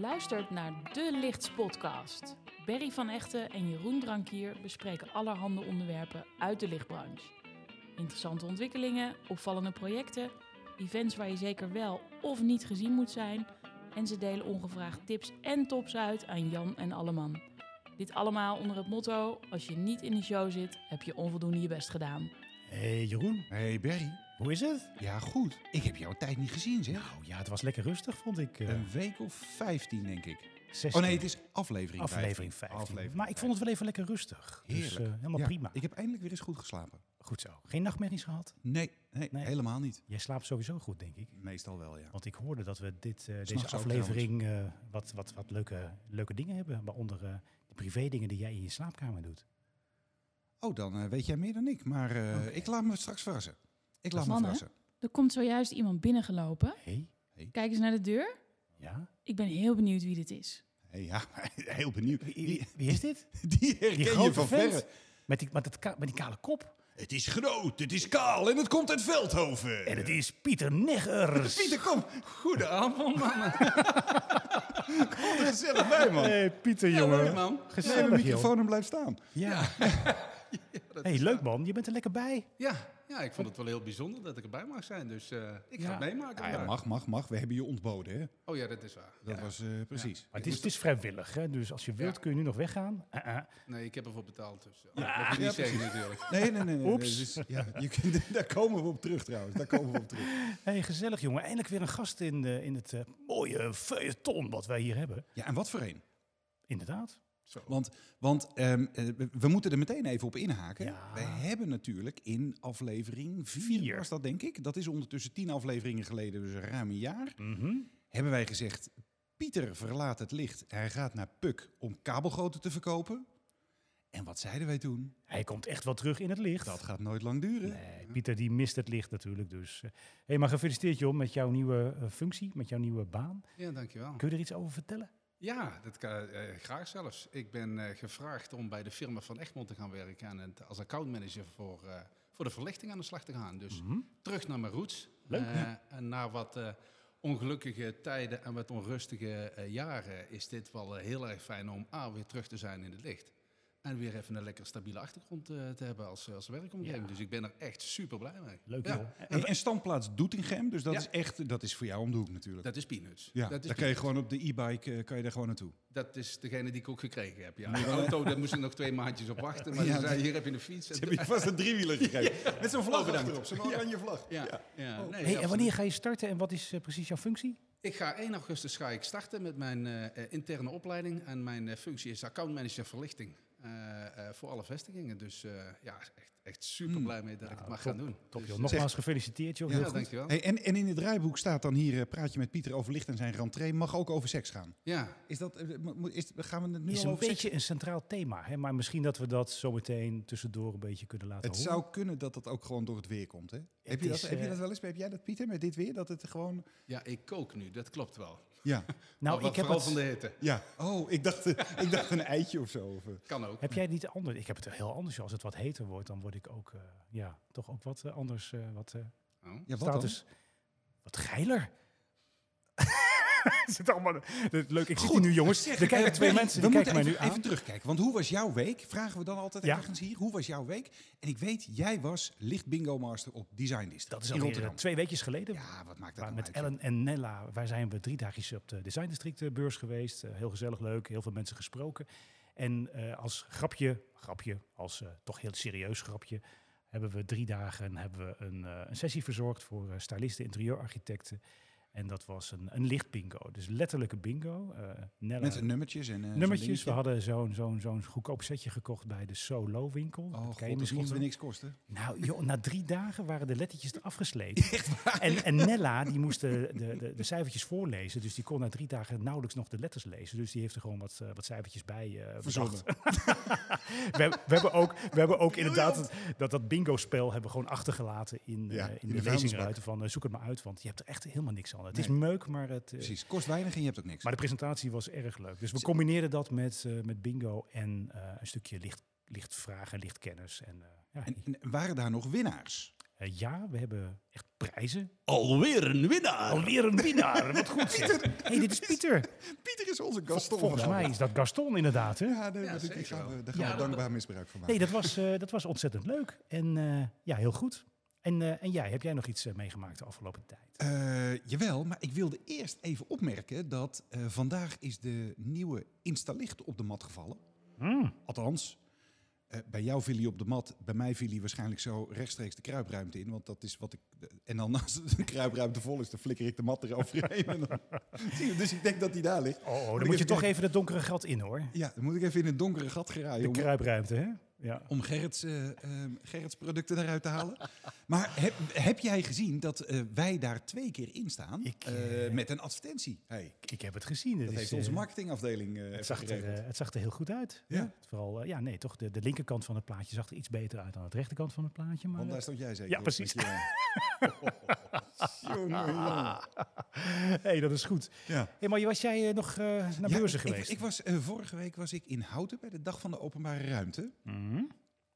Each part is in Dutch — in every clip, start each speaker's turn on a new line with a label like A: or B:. A: luistert naar De Lichts Podcast. Berry van Echten en Jeroen Drankier bespreken allerhande onderwerpen uit de lichtbranche. Interessante ontwikkelingen, opvallende projecten, events waar je zeker wel of niet gezien moet zijn. En ze delen ongevraagd tips en tops uit aan Jan en Alleman. Dit allemaal onder het motto: als je niet in de show zit, heb je onvoldoende je best gedaan.
B: hey Eh, Jeroen,
C: Hey Berry,
B: hoe is het?
C: ja goed. Ik heb jou een tijd niet gezien zeg.
B: Nou ja, het was lekker rustig, vond ik. eh,
C: Een week of 15 denk ik.
B: 16.
C: Ehm, Oh nee, het is aflevering 15.
B: aflevering 15.
C: Aflevering
B: maar ik vond het wel even lekker rustig.
C: 15.
B: Dus eh, helemaal
C: Ja,
B: prima.
C: Ik heb eindelijk weer eens goed geslapen.
B: Goed zo. Geen nachtmerries gehad?
C: Nee, nee,
B: Nee.
C: helemaal niet.
B: Jij slaapt sowieso goed, denk ik.
C: Meestal wel ja.
B: Want ik hoorde dat we dit, eh, deze
C: S'nachts ook
B: aflevering eh, wat, wat, wat leuke, leuke dingen hebben. Waaronder eh, de privé dingen die jij in je slaapkamer doet.
C: Oh, dan eh, weet jij meer dan ik. Maar eh, ik laat me straks verrassen. Ik laat me
A: mannen, hè?
C: verrassen.
A: Er komt zojuist iemand binnengelopen.
B: Hé?
A: Kijk eens naar de deur.
B: Ja?
A: Ik ben heel benieuwd wie dit is.
C: Hey, ja, maar heel benieuwd. Die,
B: Wie, wie is dit?
C: die herken je van
B: vent.
C: verre.
B: Met die, met, het ka- met die kale kop.
C: Het is groot, het is kaal en het komt uit Veldhoven.
B: En het is Pieter Neggers.
C: Eh. Pieter, kom. Goedenavond, mannen. kom er gezellig bij, man.
B: Hey, Pieter,
C: Ja,
B: jongen.
C: leuk, man.
B: Gezellig,
C: Neem
B: joh.
C: de microfoon en blijf staan.
B: Ja. hey, leuk man, je bent er lekker bij.
D: Ja, ja, ik vond het wel heel bijzonder dat ik erbij mag zijn. Dus eh, ik ga
B: Ja.
D: het meemaken.
C: Ja, ja,
D: maar-
C: mag, mag, mag. We hebben je ontboden, hè?
D: Oh ja, dat is waar.
C: Dat was eh, precies.
B: Maar het is, het is vrijwillig, hè? dus als je wilt
D: Ja.
B: kun je nu nog weggaan. Eh, eh.
D: Nee, ik heb ervoor betaald. Dus, oh, dat moet je niet zeggen natuurlijk.
C: Nee, nee, nee. nee
B: Oeps.
C: nee, dus, ja, je kunt, daar komen we op terug, trouwens. Daar komen we op terug.
B: Hey, gezellig jongen, eindelijk weer een gast in, eh, in het eh, mooie feuilleton wat wij hier hebben.
C: Ja, en wat voor een?
B: Inderdaad.
C: Want, want ehm, eh, we- we moeten er meteen even op inhaken.
B: Ja.
C: We hebben natuurlijk in aflevering 4,
B: Vier.
C: was dat denk ik. Dat is ondertussen tien afleveringen geleden, dus ruim een jaar.
D: Mhm.
C: Hebben wij gezegd, Pieter verlaat het licht. Hij gaat naar Puk om kabelgoten te verkopen. En wat zeiden wij toen?
B: Hij komt echt wel terug in het licht.
C: Dat gaat nooit lang duren.
B: Nee, Pieter die mist het licht natuurlijk. Dus. eh. hey, maar gefeliciteerd joh met jouw nieuwe eh, functie, met jouw nieuwe baan.
D: Ja, dankjewel.
B: Kun je er iets over vertellen?
D: Ja, dat kan, eh, graag zelfs. Ik ben eh, gevraagd om bij de firma van Egmond te gaan werken en het- als accountmanager voor, eh, voor de verlichting aan de slag te gaan. Dus
B: Mhm.
D: terug naar mijn roots.
B: Leuk.
D: Eh, En na wat eh, ongelukkige tijden en wat onrustige eh, jaren is dit wel eh, heel erg fijn om A, weer terug te zijn in het licht. En weer even een lekker stabiele achtergrond eh, te hebben als, als werkomgeving.
B: Ja.
D: Dus ik ben er echt super blij mee.
B: Leuk
D: Ja,
B: joh.
C: En, en standplaats Doetinchem, dus dat
D: Ja.
C: is echt, dat is voor jou om de hoek natuurlijk.
D: Dat is peanuts.
C: ja,
D: dat is
C: daar kan je gewoon op de e-bike eh, kan je daar gewoon naartoe.
D: Dat is degene die ik ook gekregen heb. Ja. De auto, daar moest ik nog twee maandjes op wachten. Maar
C: Ja,
D: ze zei,
C: dat-
D: hier heb je een fiets. En-
C: Heb je vast een driewieler gegeven? Met zo'n vlag
D: Oh, bedankt.
C: achterop, zo'n oranje vlag.
D: Ja, ja.
B: Hey,
D: nee,
B: en
D: absoluut.
B: wanneer ga je starten en wat is eh, precies jouw functie?
D: Ik ga 1 augustus ga ik starten met mijn eh, eh, interne opleiding. En mijn eh, functie is accountmanager verlichting. eh, eh, voor alle vestigingen. Dus eh, ja, echt, echt super
C: Hmm.
D: blij mee dat ik het mag gaan doen.
B: Top
D: Dus,
B: joh,
D: eh,
B: nogmaals gefeliciteerd joh. Heel
D: ja,
B: goed.
D: dankjewel.
C: Hey, en, en in het draaiboek staat dan hier, eh, praat je met Pieter over licht en zijn rentree, mag ook over seks gaan.
D: Ja,
C: Is dat, eh, mo- mo- is, gaan we het nu
B: is
C: al
B: een
C: over seks?
B: beetje een centraal thema. Hè? Maar misschien dat we dat zometeen tussendoor een beetje kunnen laten
C: Het
B: horen.
C: zou kunnen dat dat ook gewoon door het weer komt, hè? Heb je, dat,
B: is,
C: heb je
B: eh,
C: dat wel eens? Heb jij dat, Pieter, met dit weer? Dat het gewoon...
D: ja, ik kook nu. Dat klopt wel.
C: Ja,
B: Nou,
D: Maar
B: ik heb,
D: vooral
B: het-
D: van de hitte.
C: ja. Oh, ik dacht, eh, ik dacht een eitje of zo. Of, eh.
D: Kan ook.
B: heb jij niet anders? Ik heb het heel anders. joh. Als het wat heter wordt, dan word ik ook eh, ja, toch ook wat eh, anders. eh, wat eh,
C: ja,
D: Oh.
C: wat dan?
B: status. Wat geiler. Het zit allemaal het is leuk. Ik zie
C: Goed,
B: nu, jongens. Er kijken
C: Eh,
B: twee
C: Berry,
B: mensen.
C: We
B: Die kijken
C: moeten
B: mij
C: even,
B: nu aan.
C: even terugkijken. Want hoe was jouw week? Vragen we dan altijd
B: Ja.
C: ergens hier. Hoe was jouw week? En ik weet, jij was licht bingo master op Design District
B: dat is
C: in
B: alweer
C: Rotterdam.
B: eh, twee weekjes geleden.
C: Ja, wat maakt dat
B: Maar
C: nou
B: met
C: uit,
B: Ellen en Nella, wij zijn we drie dagjes op de Design District eh, beurs geweest. Eh, heel gezellig, leuk, heel veel mensen gesproken. En eh, als grapje, grapje, als eh, toch heel serieus grapje, hebben we drie dagen hebben we een, eh, een sessie verzorgd voor eh, stylisten, interieurarchitecten. En dat was een, een licht bingo, dus letterlijke bingo. Eh, Nella,
C: joh? Met nummertjes en eh, zo'n
B: nummertjes. We
C: dingetje.
B: hadden zo'n zo'n zo'n goedkoop setje gekocht bij de Solo winkel.
C: Oh,
B: Dat
C: God,
B: ken je
C: dat
B: misschien
C: mocht weer
B: wel.
C: niks kosten.
B: Nou, joh, na drie dagen waren de lettertjes er afgesleten. En, en Nella, die moest de, de, de, de cijfertjes voorlezen. Dus die kon na drie dagen nauwelijks nog de letters lezen. Dus die heeft er gewoon wat, eh, wat cijfertjes bij eh
C: Verzonnen.
B: bedacht. We, hebben- we hebben ook, we hebben ook inderdaad dat, dat, dat bingo-spel hebben we gewoon achtergelaten in, eh,
C: Ja,
B: in,
C: in
B: de,
C: de
B: lezingenruiten.
C: vuilnisbak.
B: Van eh, zoek het maar uit, want je hebt er echt helemaal niks aan. Het is
C: Nee.
B: meuk, maar het... eh,
C: Precies, kost weinig en je hebt ook niks.
B: maar de presentatie was erg leuk. Dus we combineerden dat met, eh, met bingo en eh, een stukje licht, lichtvragen, lichtkennis. En, eh, ja,
C: en, en waren daar nog winnaars?
B: Eh, ja, we hebben echt prijzen.
D: Alweer een winnaar.
B: Alweer een winnaar. Wat goed zeg. hey, dit is Pieter.
C: Pieter is onze Gaston.
B: Volgens
C: vandaag.
B: mij is dat Gaston inderdaad. Hè?
C: Ja, nee,
D: Ja,
C: maar die-
D: zeker
C: die gaan
D: wel.
C: we, daar gaan
D: Ja,
C: we
D: dat-
C: dankbaar misbruik van maken.
B: Nee, dat was, eh, dat was ontzettend leuk. En eh, ja, heel goed. En, eh, en jij, heb jij nog iets eh, meegemaakt de afgelopen tijd?
C: Eh, jawel, maar ik wilde eerst even opmerken dat eh, vandaag is de nieuwe Instalicht op de mat gevallen. Althans, eh, bij jou viel hij op de mat, bij mij viel hij waarschijnlijk zo rechtstreeks de kruipruimte in. Want dat is wat ik. eh, En dan als de kruipruimte vol is, dan flikker ik de mat eroverheen. en dan- Zie je, dus ik denk dat hij daar ligt.
B: Oh, oh,
C: ik
B: dan moet je
C: heb
B: toch
C: geen-
B: even dat donkere gat in hoor.
C: Ja, dan moet ik even in een donkere gat
B: De
C: geraaien. om-
B: kruipruimte, hè? Ja.
C: om Gerrits, eh, ehm, Gerrits producten eruit te halen. maar heb, heb jij gezien dat eh, wij daar twee keer in staan
B: Ik,
C: eh,
B: eh,
C: met een advertentie? Hey,
B: Ik heb het gezien. Het
C: dat
B: is,
C: heeft onze
B: eh,
C: marketingafdeling eh
B: het
C: even
B: zag, er,
C: geregeld.
B: eh, het zag er heel goed uit.
C: Ja.
B: Ja. Vooral, eh, ja, nee, toch, de, de linkerkant van het plaatje zag er iets beter uit dan de rechterkant van het plaatje. Maar,
C: Want daar
B: eh,
C: stond jij zeker
B: Ja,
C: op
B: precies.
C: met eh, je- Jongen, jongen.
B: hey, dat is goed.
C: Ja.
B: Hey, maar was jij eh, nog eh, naar
C: Ja,
B: beurzen
C: ik-
B: geweest?
C: Ik, was, eh, vorige week was ik in Houten bij de Dag van de Openbare Ruimte.
B: Mhm.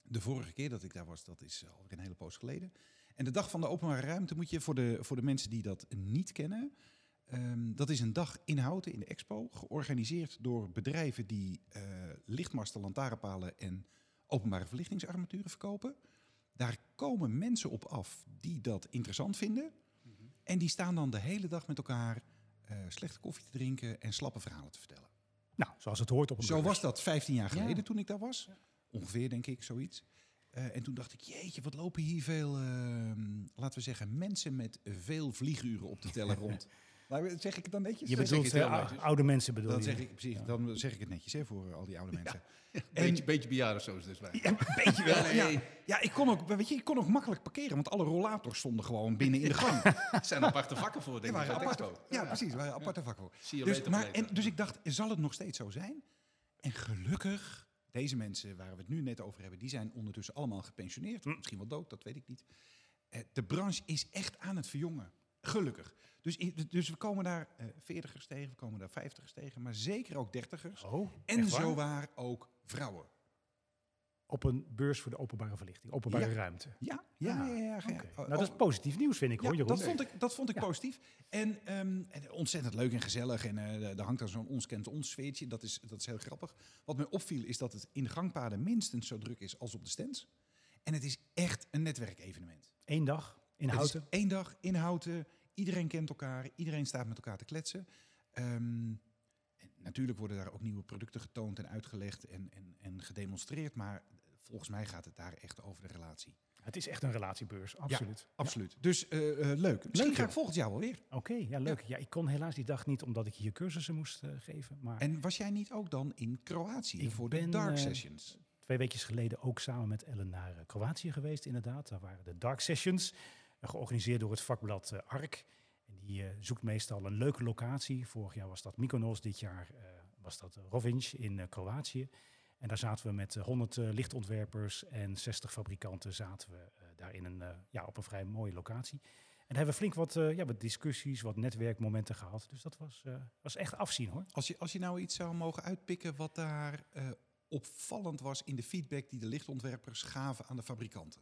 C: De vorige keer dat ik daar was, dat is alweer een hele poos geleden. En de dag van de openbare ruimte moet je voor de, voor de mensen die dat niet kennen. ehm, dat is een dag in Houten in de expo, georganiseerd door bedrijven die eh, lichtmasten, lantaarnpalen en openbare verlichtingsarmaturen verkopen. Daar komen mensen op af die dat interessant vinden. En die staan dan de hele dag met elkaar eh, slechte koffie te drinken en slappe verhalen te vertellen.
B: Nou, zoals het hoort op een
C: Zo
B: beurs.
C: was dat 15 jaar
B: Ja.
C: geleden toen ik daar was. Ongeveer, denk ik, zoiets. Eh, en toen dacht ik, jeetje, wat lopen hier veel, ehm, laten we zeggen, mensen met veel vlieguren op de teller rond. Nou, zeg ik het dan netjes?
B: Je
C: Dan zeg
B: bedoelt
C: ik het
B: eh,
C: heel
B: ou-
C: netjes.
B: oude mensen bedoel
C: dan
B: je?
C: zeg, ik, precies, dan zeg ik het netjes hè, voor eh, al die oude mensen.
D: Beetje, beetje bejaarden zo is het dus wij.
C: Ja, een beetje wel.
D: Nee.
C: Ja, ja ik, kon ook, weet je, ik kon ook makkelijk parkeren, want alle rollators stonden gewoon binnen in de gang.
D: Er zijn aparte vakken voor,
C: Er
D: denk ik.
C: waren
D: bij de
C: aparte,
D: expo.
C: ja, precies, er waren aparte vakken voor.
D: Zie je
C: Dus,
D: later,
C: maar,
D: later.
C: en, dus ik dacht, zal het nog steeds zo zijn? En gelukkig, deze mensen waar we het nu net over hebben, die zijn ondertussen allemaal gepensioneerd.
B: Hm.
C: of Misschien wel dood, dat weet ik niet. Eh, De branche is echt aan het verjongen. Gelukkig. Dus, i- dus we komen daar veertigers tegen, we komen daar vijftigers tegen, maar zeker ook dertigers.
B: Oh,
C: en
B: echt waar?
C: zowaar ook vrouwen.
B: Op een beurs voor de openbare verlichting, openbare
C: Ja.
B: ruimte.
C: Ja, ja,
B: Ah,
C: ja. ja, ja,
B: Oké.
C: ja. Oh,
B: nou, dat is
C: oh,
B: positief nieuws, vind ik hoor,
C: ja,
B: Jeroen.
C: dat vond ik, dat vond ik
B: Ja.
C: positief. En, ehm, en ontzettend leuk en gezellig. En eh daar hangt dan zo'n ons kent ons sfeertje. Dat is, dat is heel grappig. Wat mij opviel is dat het in de gangpaden minstens zo druk is als op de stands. En het is echt een netwerkevenement.
B: Eén dag in
C: Het is
B: Houten.
C: één dag in Houten. Iedereen kent elkaar. Iedereen staat met elkaar te kletsen. Ehm, en natuurlijk worden daar ook nieuwe producten getoond en uitgelegd en, en, en gedemonstreerd. Maar volgens mij gaat het daar echt over de relatie.
B: Het is echt een relatiebeurs, absoluut.
C: Absoluut. Dus eh, eh, leuk. Misschien
B: Leuk,
C: ga ik
B: joh.
C: volgend jaar wel weer.
B: Oké, ja, leuk. Ja. ik kon helaas die dag niet omdat ik hier cursussen moest eh, geven. Maar
C: En was jij niet ook dan in Kroatië
B: Ik
C: voor
B: ben,
C: de Dark
B: eh,
C: Sessions?
B: twee weekjes geleden ook samen met Ellen naar eh, Kroatië geweest, inderdaad. Daar waren de Dark Sessions, eh, georganiseerd door het vakblad eh, ARK. En die eh, zoekt meestal een leuke locatie. Vorig jaar was dat Mykonos, dit jaar eh, was dat Rovinj in eh, Kroatië. En daar zaten we met eh, 100 eh, lichtontwerpers en 60 fabrikanten zaten we eh, daar in een, eh, ja, op een vrij mooie locatie. En daar hebben we flink wat, eh, ja, wat discussies, wat netwerkmomenten gehad. Dus dat was, eh, was echt afzien hoor.
C: Als je, als je nou iets zou mogen uitpikken wat daar eh, opvallend was in de feedback die de lichtontwerpers gaven aan de fabrikanten.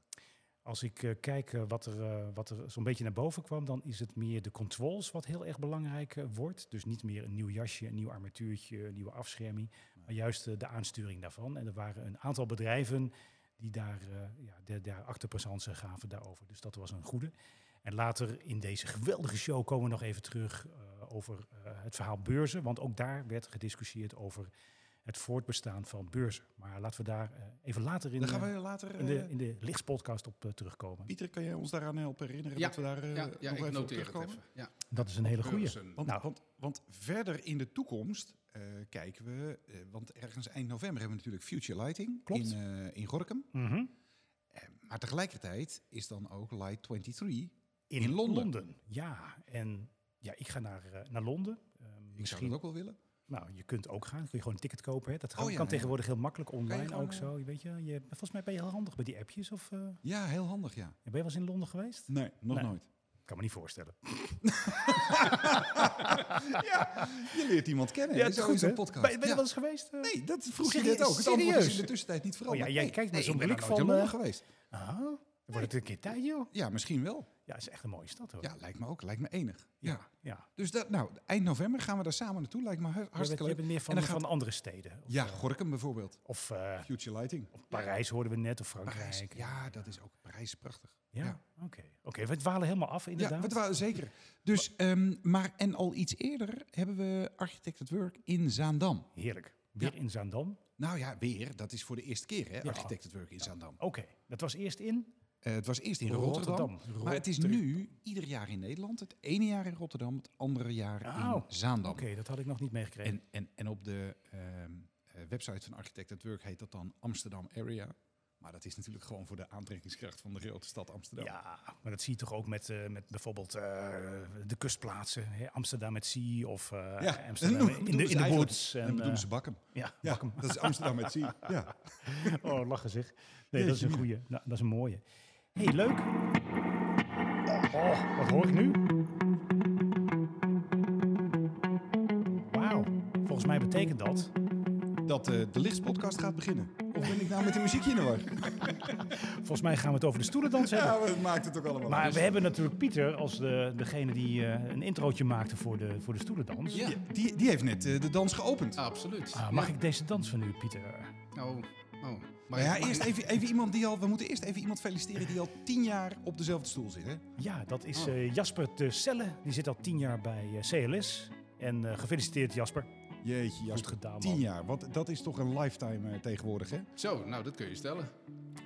B: Als ik eh, kijk eh, wat er, eh, wat er zo'n beetje naar boven kwam, dan is het meer de controls wat heel erg belangrijk eh, wordt. Dus niet meer een nieuw jasje, een nieuw armatuurtje, een nieuwe afscherming, maar juist eh, de aansturing daarvan. En er waren een aantal bedrijven die daar, eh ja, de, daar actepresence gaven daarover. Dus dat was een goede. En later in deze geweldige show komen we nog even terug eh, over eh, het verhaal beurzen. Want ook daar werd gediscussieerd over het voortbestaan van beurzen. Maar laten we daar eh, even later in...
C: Dan gaan
B: eh,
C: we later...
B: in de,
C: eh,
B: in de lichtspodcast op eh, terugkomen.
C: Pieter, kan jij ons daaraan helpen herinneren
D: Ja,
C: dat we daar eh,
D: Ja,
C: nog
D: ja ik
C: even op
D: noteer het
C: terugkomen?
D: even. Ja.
B: Dat is een hele goeie.
D: Beurzen.
C: Want,
B: Nou.
C: want, want verder in de toekomst eh, kijken we... eh, want ergens eind november hebben we natuurlijk Future Lighting
B: Klopt.
C: in, eh in Gorkum.
B: Mhm.
C: Eh, maar tegelijkertijd is dan ook Light 23
B: in,
C: In Londen.
B: Ja, en ja, ik ga naar, eh, naar Londen. Ehm,
C: Ik zou dat ook wel willen.
B: Nou, je kunt ook gaan. Kun je gewoon een ticket kopen. Hè. Dat
C: Oh, ja,
B: kan
C: ja.
B: tegenwoordig heel makkelijk online
C: gewoon, eh,
B: ook zo. Je weet je, je, volgens mij ben je heel handig bij die appjes. Of eh,
C: Ja, heel handig, ja.
B: ben je wel eens in Londen geweest?
C: Nee, nog
B: Nee.
C: nooit.
B: Kan me niet voorstellen.
C: Je leert iemand kennen. Ja, zo is een podcast.
B: Ben, ben je
C: Ja.
B: wel eens geweest? eh?
C: Nee, dat vroeg
B: Serieus?
C: je net ook. Het antwoord is in
B: Serieus?
C: de tussentijd niet veranderd.
B: Oh ja, jij
C: Nee.
B: kijkt met
C: Nee,
B: zo'n
C: ik ben
B: blik
C: daar nooit
B: van,
C: in
B: eh,
C: Londen geweest.
B: Ah, Wordt het een keer tijd, joh?
C: Ja, misschien wel.
B: Ja, het is echt een mooie stad hoor.
C: Ja, lijkt me ook. Lijkt me enig. Ja.
B: ja.
C: Dus dat, nou, eind november gaan we daar samen naartoe. Lijkt me har-
B: Je bent,
C: hartstikke leuk.
B: meer van,
C: En dan gaat-
B: van andere steden. Of,
C: Ja,
B: eh,
C: Gorkum bijvoorbeeld.
B: Of eh,
C: Future Lighting.
B: Parijs hoorden we net, of Frankrijk.
C: Parijs. Ja, dat is ook Parijs is prachtig.
B: Ja?
C: ja.
B: Oké, Oké, we dwalen helemaal af inderdaad.
C: Ja, wat wou- zeker. Dus, ehm, maar en al iets eerder hebben we Architect at Work in Zaandam.
B: Heerlijk. Weer in Zaandam.
C: Nou ja, weer. Dat is voor de eerste keer, hè?
B: Ja.
C: Architect at Work in Zaandam.
B: Oké, dat was eerst in
C: Eh, het was eerst in Rotterdam,
B: Rotterdam.
C: Maar het is nu ieder jaar in Nederland. Het ene jaar in Rotterdam, het andere jaar
B: Oh,
C: in Zaandam.
B: Oké, dat had ik nog niet meegekregen.
C: En, en, en op de ehm, eh, website van Architect at Work heet dat dan Amsterdam Area. Maar dat is natuurlijk gewoon voor de aantrekkingskracht van de grote stad Amsterdam.
B: Ja, maar dat zie je toch ook met, eh, met bijvoorbeeld eh, de kustplaatsen. Hè? Amsterdam met Sea of eh,
C: Ja,
B: Amsterdam
C: en dan
B: in
C: doen
B: de,
C: ze
B: in de
C: eigenlijk-
B: woods.
C: En
B: En,
C: dan bedoelen
B: eh,
C: ze Bakkum.
B: ja,
C: Ja,
B: Bakken.
C: dat is Amsterdam met zee. Ja.
B: Oh, lachen zeg. Nee, dat is een goeie. Nou, dat is een mooie. hey, leuk. Oh, wat hoor ik nu? Wauw. Volgens mij betekent dat...
C: dat eh, de Lichtspodcast gaat beginnen. Of ben ik nou met de muziekje in de war?
B: Volgens mij gaan we het over de stoelendans hebben.
C: maar dat maakt het ook allemaal
B: Maar
C: uit.
B: we hebben natuurlijk Pieter als de, degene die eh, een introotje maakte voor de, voor de stoelendans.
D: Ja,
C: die, die heeft net eh, de dans geopend.
D: absoluut.
B: Ah, mag ik deze dans van u, Pieter?
D: Oh, oh. Maar
C: Maar Nou ja, eerst even, even iemand die al... We moeten eerst even iemand feliciteren die al tien jaar op dezelfde stoel zit. Hè?
B: Ja, dat
C: Oh.
B: is eh, Jasper de Celle. Die zit al tien jaar bij eh, CLS. En eh, gefeliciteerd Jasper.
C: Nou, Jeetje, Jasper.
B: Goed gedaan, man.
C: Tien jaar, wat, dat is toch een lifetime eh, tegenwoordig, hè?
D: Zo, nou, dat kun je stellen.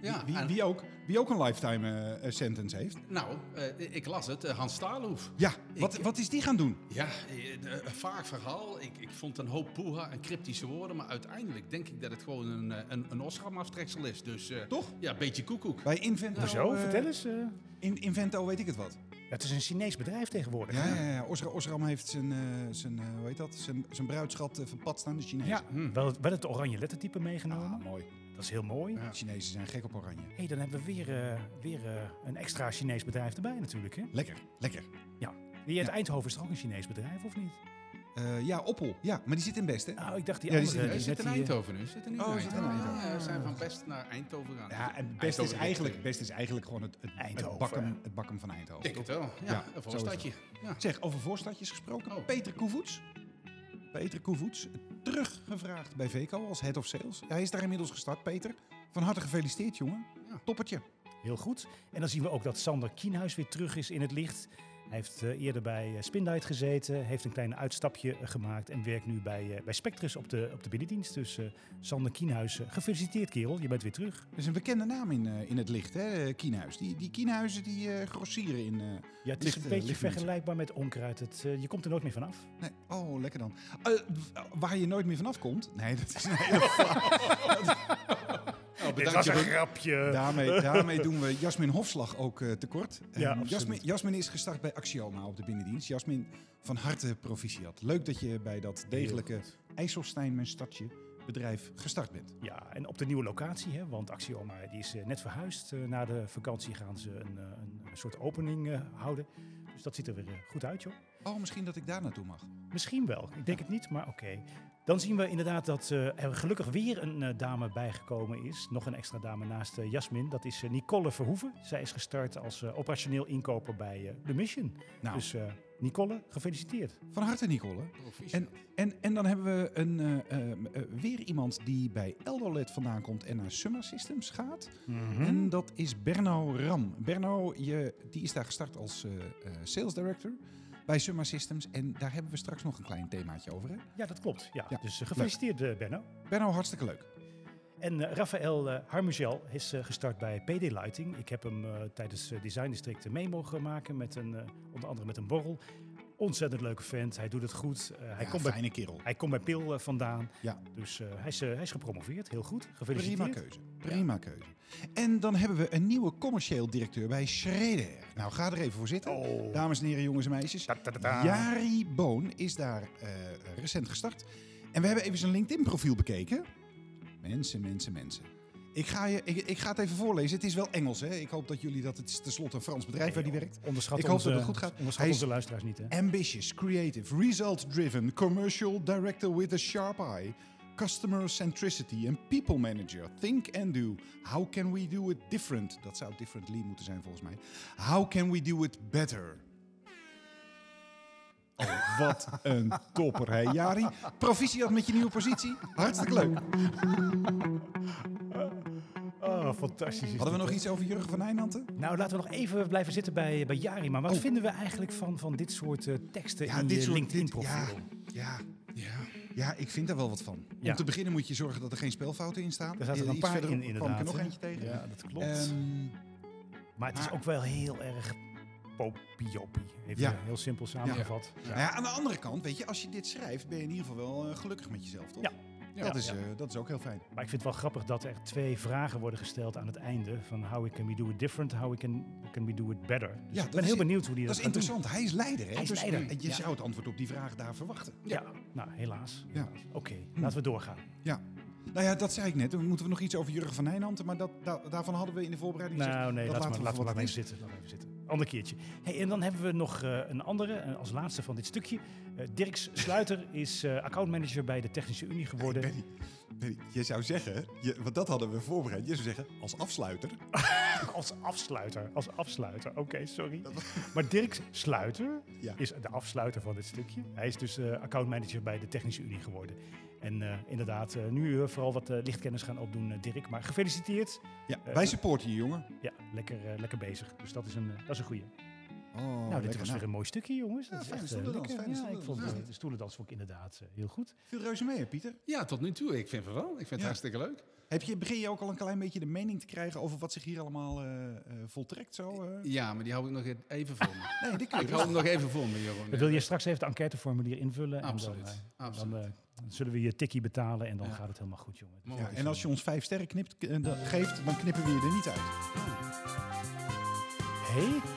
D: Ja,
C: wie,
D: en-
C: wie, ook, wie ook een lifetime eh, eh, sentence heeft.
D: nou, eh, ik las het, eh, Hans Stalenhoef.
C: Ja, wat, wat is die gaan doen?
D: Ja, eh, de- een vaag verhaal. Ik, ik vond een hoop poeha en cryptische woorden, maar uiteindelijk denk ik dat het gewoon een, eh, een, een Osram-aftreksel is. Dus eh,
C: Toch?
D: ja, een beetje koekoek.
C: Bij Invento...
B: Hoezo?
C: eh,
B: Vertel eens. eh.
C: In, Invento weet ik het wat.
B: Ja, het is een Chinees bedrijf tegenwoordig.
C: Ja,
B: hè?
C: ja, ja. Osra- Osram heeft zijn, eh, zijn, eh, hoe heet dat? Zijn, zijn bruidschat eh, van pad staan, de Chinezen.
B: Ja,
D: Hm.
B: wel, het- wel het oranje lettertype meegenomen.
C: Ah, mooi.
B: Dat is heel mooi.
D: Ja.
C: Chinezen zijn gek op oranje.
B: hey, dan hebben we weer, eh, weer eh, een extra Chinees bedrijf erbij natuurlijk. Hè?
C: Lekker, lekker.
B: Die uit
C: Ja.
B: Eindhoven is toch ook een Chinees bedrijf, of niet?
C: Eh, ja, Oppel. Ja, maar die zit in Best, hè?
B: Nou, ik dacht die
C: Ja, die
B: andere.
D: Hij
B: die
D: zit
B: net die,
D: in
B: eh,
D: Eindhoven nu. Zit er nu
C: Oh, zit in Eindhoven.
D: Ja, we zijn van Best naar Eindhoven gegaan.
C: Ja, en Best is,
D: Eindhoven
C: eigenlijk,
D: ligt,
C: best is eigenlijk gewoon het, het, het,
B: Eindhoven.
C: bakken, het bakken van
D: eh,
C: Eindhoven.
D: Ik denk het wel. Ja,
C: Ja,
D: een
C: zo is het.
D: voorstadje. Ja.
C: Zeg, over voorstadjes gesproken.
D: Oh.
C: Peter Koevoets. Peter Koevoets, teruggevraagd bij VECO als head of sales. Hij is daar inmiddels gestart, Peter. Van harte gefeliciteerd, jongen.
D: Ja.
C: Toppertje.
B: Heel goed. En dan zien we ook dat Sander Kienhuis weer terug is in het licht. Hij heeft eh, eerder bij eh, Spinlight gezeten, heeft een klein uitstapje eh, gemaakt en werkt nu bij, eh, bij Spectrus op de, op de binnendienst. Dus eh, Sander Kienhuis, eh, gefeliciteerd kerel, je bent weer terug.
C: Dat is een bekende naam in, eh, in het licht, hè, eh, Kienhuis. Die, die Kienhuizen die eh, grossieren in... eh,
B: Ja, het is
C: Licht,
B: een
C: eh,
B: beetje
C: licht mensen.
B: vergelijkbaar met onkruid. Het, eh, je komt er nooit meer vanaf.
C: Nee, oh, lekker dan. Eh, w- waar je nooit meer vanaf komt. Nee, dat is een hele
D: Oh,
B: Dit
D: bedankt,
B: was een
D: Jeroen.
B: grapje.
C: Daarmee, daarmee doen we Jasmin Hofslag ook eh, tekort. Eh,
B: Ja, absoluut.
C: Jasmin, Jasmin is gestart bij Axioma op de binnendienst. Jasmin, van harte proficiat. Leuk dat je bij dat degelijke IJsselstein, mijn stadje, bedrijf gestart bent.
B: Ja, en op de nieuwe locatie, hè, want Axioma die is eh, net verhuisd. Eh, na de vakantie gaan ze een, eh, een soort opening eh, houden. Dus dat ziet er weer eh, goed uit, joh.
C: Oh, misschien dat ik daar naartoe mag.
B: Misschien wel. Ik denk het niet, maar oké. Dan zien we inderdaad dat eh, er gelukkig weer een eh, dame bijgekomen is. Nog een extra dame naast eh, Jasmin. Dat is eh, Nicole Verhoeven. Zij is gestart als eh, operationeel inkoper bij eh, The Mission.
C: Nou,
B: Dus eh, Nicole, gefeliciteerd.
C: van harte Nicole.
D: Proficiat.
C: En, en, en dan hebben we een, eh, eh, eh, weer iemand die bij Eldolet vandaan komt en naar Summa Systems gaat.
B: Hmm?
C: En dat is Berno Ram. Berno je, die is daar gestart als eh, eh, sales director bij Summa Systems. En daar hebben we straks nog een klein themaatje over. Hè?
B: Ja, dat klopt. Ja,
C: Ja,
B: Dus eh, gefeliciteerd, eh, Benno.
C: Benno, hartstikke leuk.
B: En eh Raphaël eh, Harmugel is eh, gestart bij PD Lighting. Ik heb hem eh, tijdens eh, Design District een mee mogen maken, met een, eh, onder andere met een borrel. Ontzettend leuke vent, hij doet het goed. Eh, hij,
C: Ja,
B: komt bij,
C: fijne kerel.
B: hij komt bij PIL eh, vandaan,
C: Ja.
B: dus eh, hij, is, eh, hij is gepromoveerd. Heel goed, gefeliciteerd.
C: Prima keuze. Prima keuze. En dan hebben we een nieuwe commercieel directeur bij Schreder. Nou, ga er even voor zitten.
B: Oh.
C: Dames en heren, jongens en meisjes.
B: Ta, ta, ta, ta.
C: Jari Boon is daar eh, recent gestart. En we hebben even zijn LinkedIn-profiel bekeken. Mensen, mensen, mensen. Ik ga, je, ik, ik ga het even voorlezen. Het is wel Engels, hè? Ik hoop dat jullie dat... Het is tenslotte een Frans bedrijf waar die werkt.
B: Onderschat
C: Ik hoop
B: onze-
C: dat het goed gaat.
B: Onderschat
C: Hij is-
B: onze luisteraars niet, hè?
C: Ambitious, creative, result-driven, commercial director with a sharp eye. Customer centricity en people manager. Think and do. How can we do it different? Dat zou differently moeten zijn volgens mij. How can we do it better? Oh, wat een topper, hè Jari? Proficiat met je nieuwe positie. Hartstikke leuk.
B: Oh, fantastisch. is
C: Hadden we
B: dit,
C: nog
B: hè?
C: iets over Jurgen van Eijnanten?
B: Nou, laten we nog even blijven zitten bij, bij Jari. Maar wat
C: Oh.
B: vinden we eigenlijk van, van dit soort eh, teksten
C: Ja,
B: in
C: dit
B: je
C: soort-
B: LinkedIn-profiel?
C: dit- Ja,
D: Ja.
C: ja, ik vind daar wel wat van.
B: Ja.
C: Om te beginnen moet je zorgen dat er geen spelfouten in staan.
B: Daar zaten er
C: Eh,
B: een
C: iets
B: paar in,
C: verderop kwam
B: inderdaad.
C: ik er nog
B: hè?
C: eentje tegen.
B: Ja, dat klopt.
C: Ehm,
B: maar het is
C: maar-
B: ook wel heel erg popiopie. Even
C: Ja.
B: eh, heel simpel samengevat. Ja,
C: Nou ja, aan de andere kant, weet je, als je dit schrijft, ben je in ieder geval wel eh, gelukkig met jezelf, toch?
B: Ja.
C: Dat,
B: Ja.
C: is, eh, dat is ook heel fijn.
B: Maar ik vind het wel grappig dat er twee vragen worden gesteld aan het einde. Van how can we do it different, how can, can we do it better. Dus
C: Ja,
B: ik
C: dat
B: ben
C: is-
B: heel benieuwd hoe die
C: Dat
B: dat, gaat
C: is
B: doen.
C: interessant. Hij is leider, hè?
B: Hij is
C: Dus,
B: leider,
C: eh, je
B: ja.
C: zou het antwoord op die vraag daar verwachten.
B: Ja, nou helaas.
C: Ja. Hm.
B: helaas. Oké, laten we doorgaan.
C: Ja. Nou ja, dat zei ik net. Dan moeten we nog iets over Jurgen van Nijnanten, maar dat, da- daarvan hadden we in de voorbereiding
B: Nou,
C: gezegd,
B: nee,
C: dat
B: laten we, laten we
C: voor
B: maar
C: wat
B: even zitten. Laten we even zitten. Ander keertje. Hey, en dan hebben we nog eh, een andere, eh, als laatste van dit stukje. Eh, Dirks Sluiter is eh, accountmanager bij de Technische Unie geworden.
C: Benny, Benny, je zou zeggen, je, want dat hadden we voorbereid. Je zou zeggen, als afsluiter.
B: Als afsluiter, als afsluiter. Oké, sorry. Maar Dirk Sluiter
C: Ja.
B: is de afsluiter van dit stukje. Hij is dus eh, accountmanager bij de Technische Unie geworden. En eh, inderdaad, eh, nu eh, vooral wat eh, lichtkennis gaan opdoen, eh, Dirk. Maar gefeliciteerd.
C: Ja,
B: Eh,
C: wij supporten je, jongen.
B: Ja, lekker, eh, lekker bezig. Dus dat is een, eh, dat is een goeie.
C: Oh,
B: nou, dit
C: lekker.
B: was weer een mooi stukje, jongens.
C: Ja,
B: dat is
C: fijne
B: echt, eh,
C: stoelendans,
B: lekker.
C: fijne
B: ja, ik vond
C: stoelendans.
B: eh, de stoelendans vond ik inderdaad eh, heel goed.
C: Veel reuze mee, hè, Pieter?
D: ja, tot nu toe. Ik vind het wel. Ik vind het
C: Ja.
D: hartstikke leuk.
C: Heb je, begin je ook al een klein beetje de mening te krijgen over wat zich hier allemaal eh, eh, voltrekt? Zo, eh?
D: Ja, maar die hou ik nog even voor me.
C: Nee, dit kun je
D: ik hou hem
C: wel.
D: nog even voor me, Jeroen.
B: Dan wil je straks even de enquêteformulier invullen. En dan,
D: Absoluut.
B: eh, dan,
D: absoluut.
B: eh, dan zullen we je tikkie betalen en dan
D: Ja.
B: gaat het helemaal goed, jongen.
D: Mooi.
C: Ja, en als je ons vijf sterren knipt, eh, dan- geeft, dan knippen we je er niet uit.
B: Hey,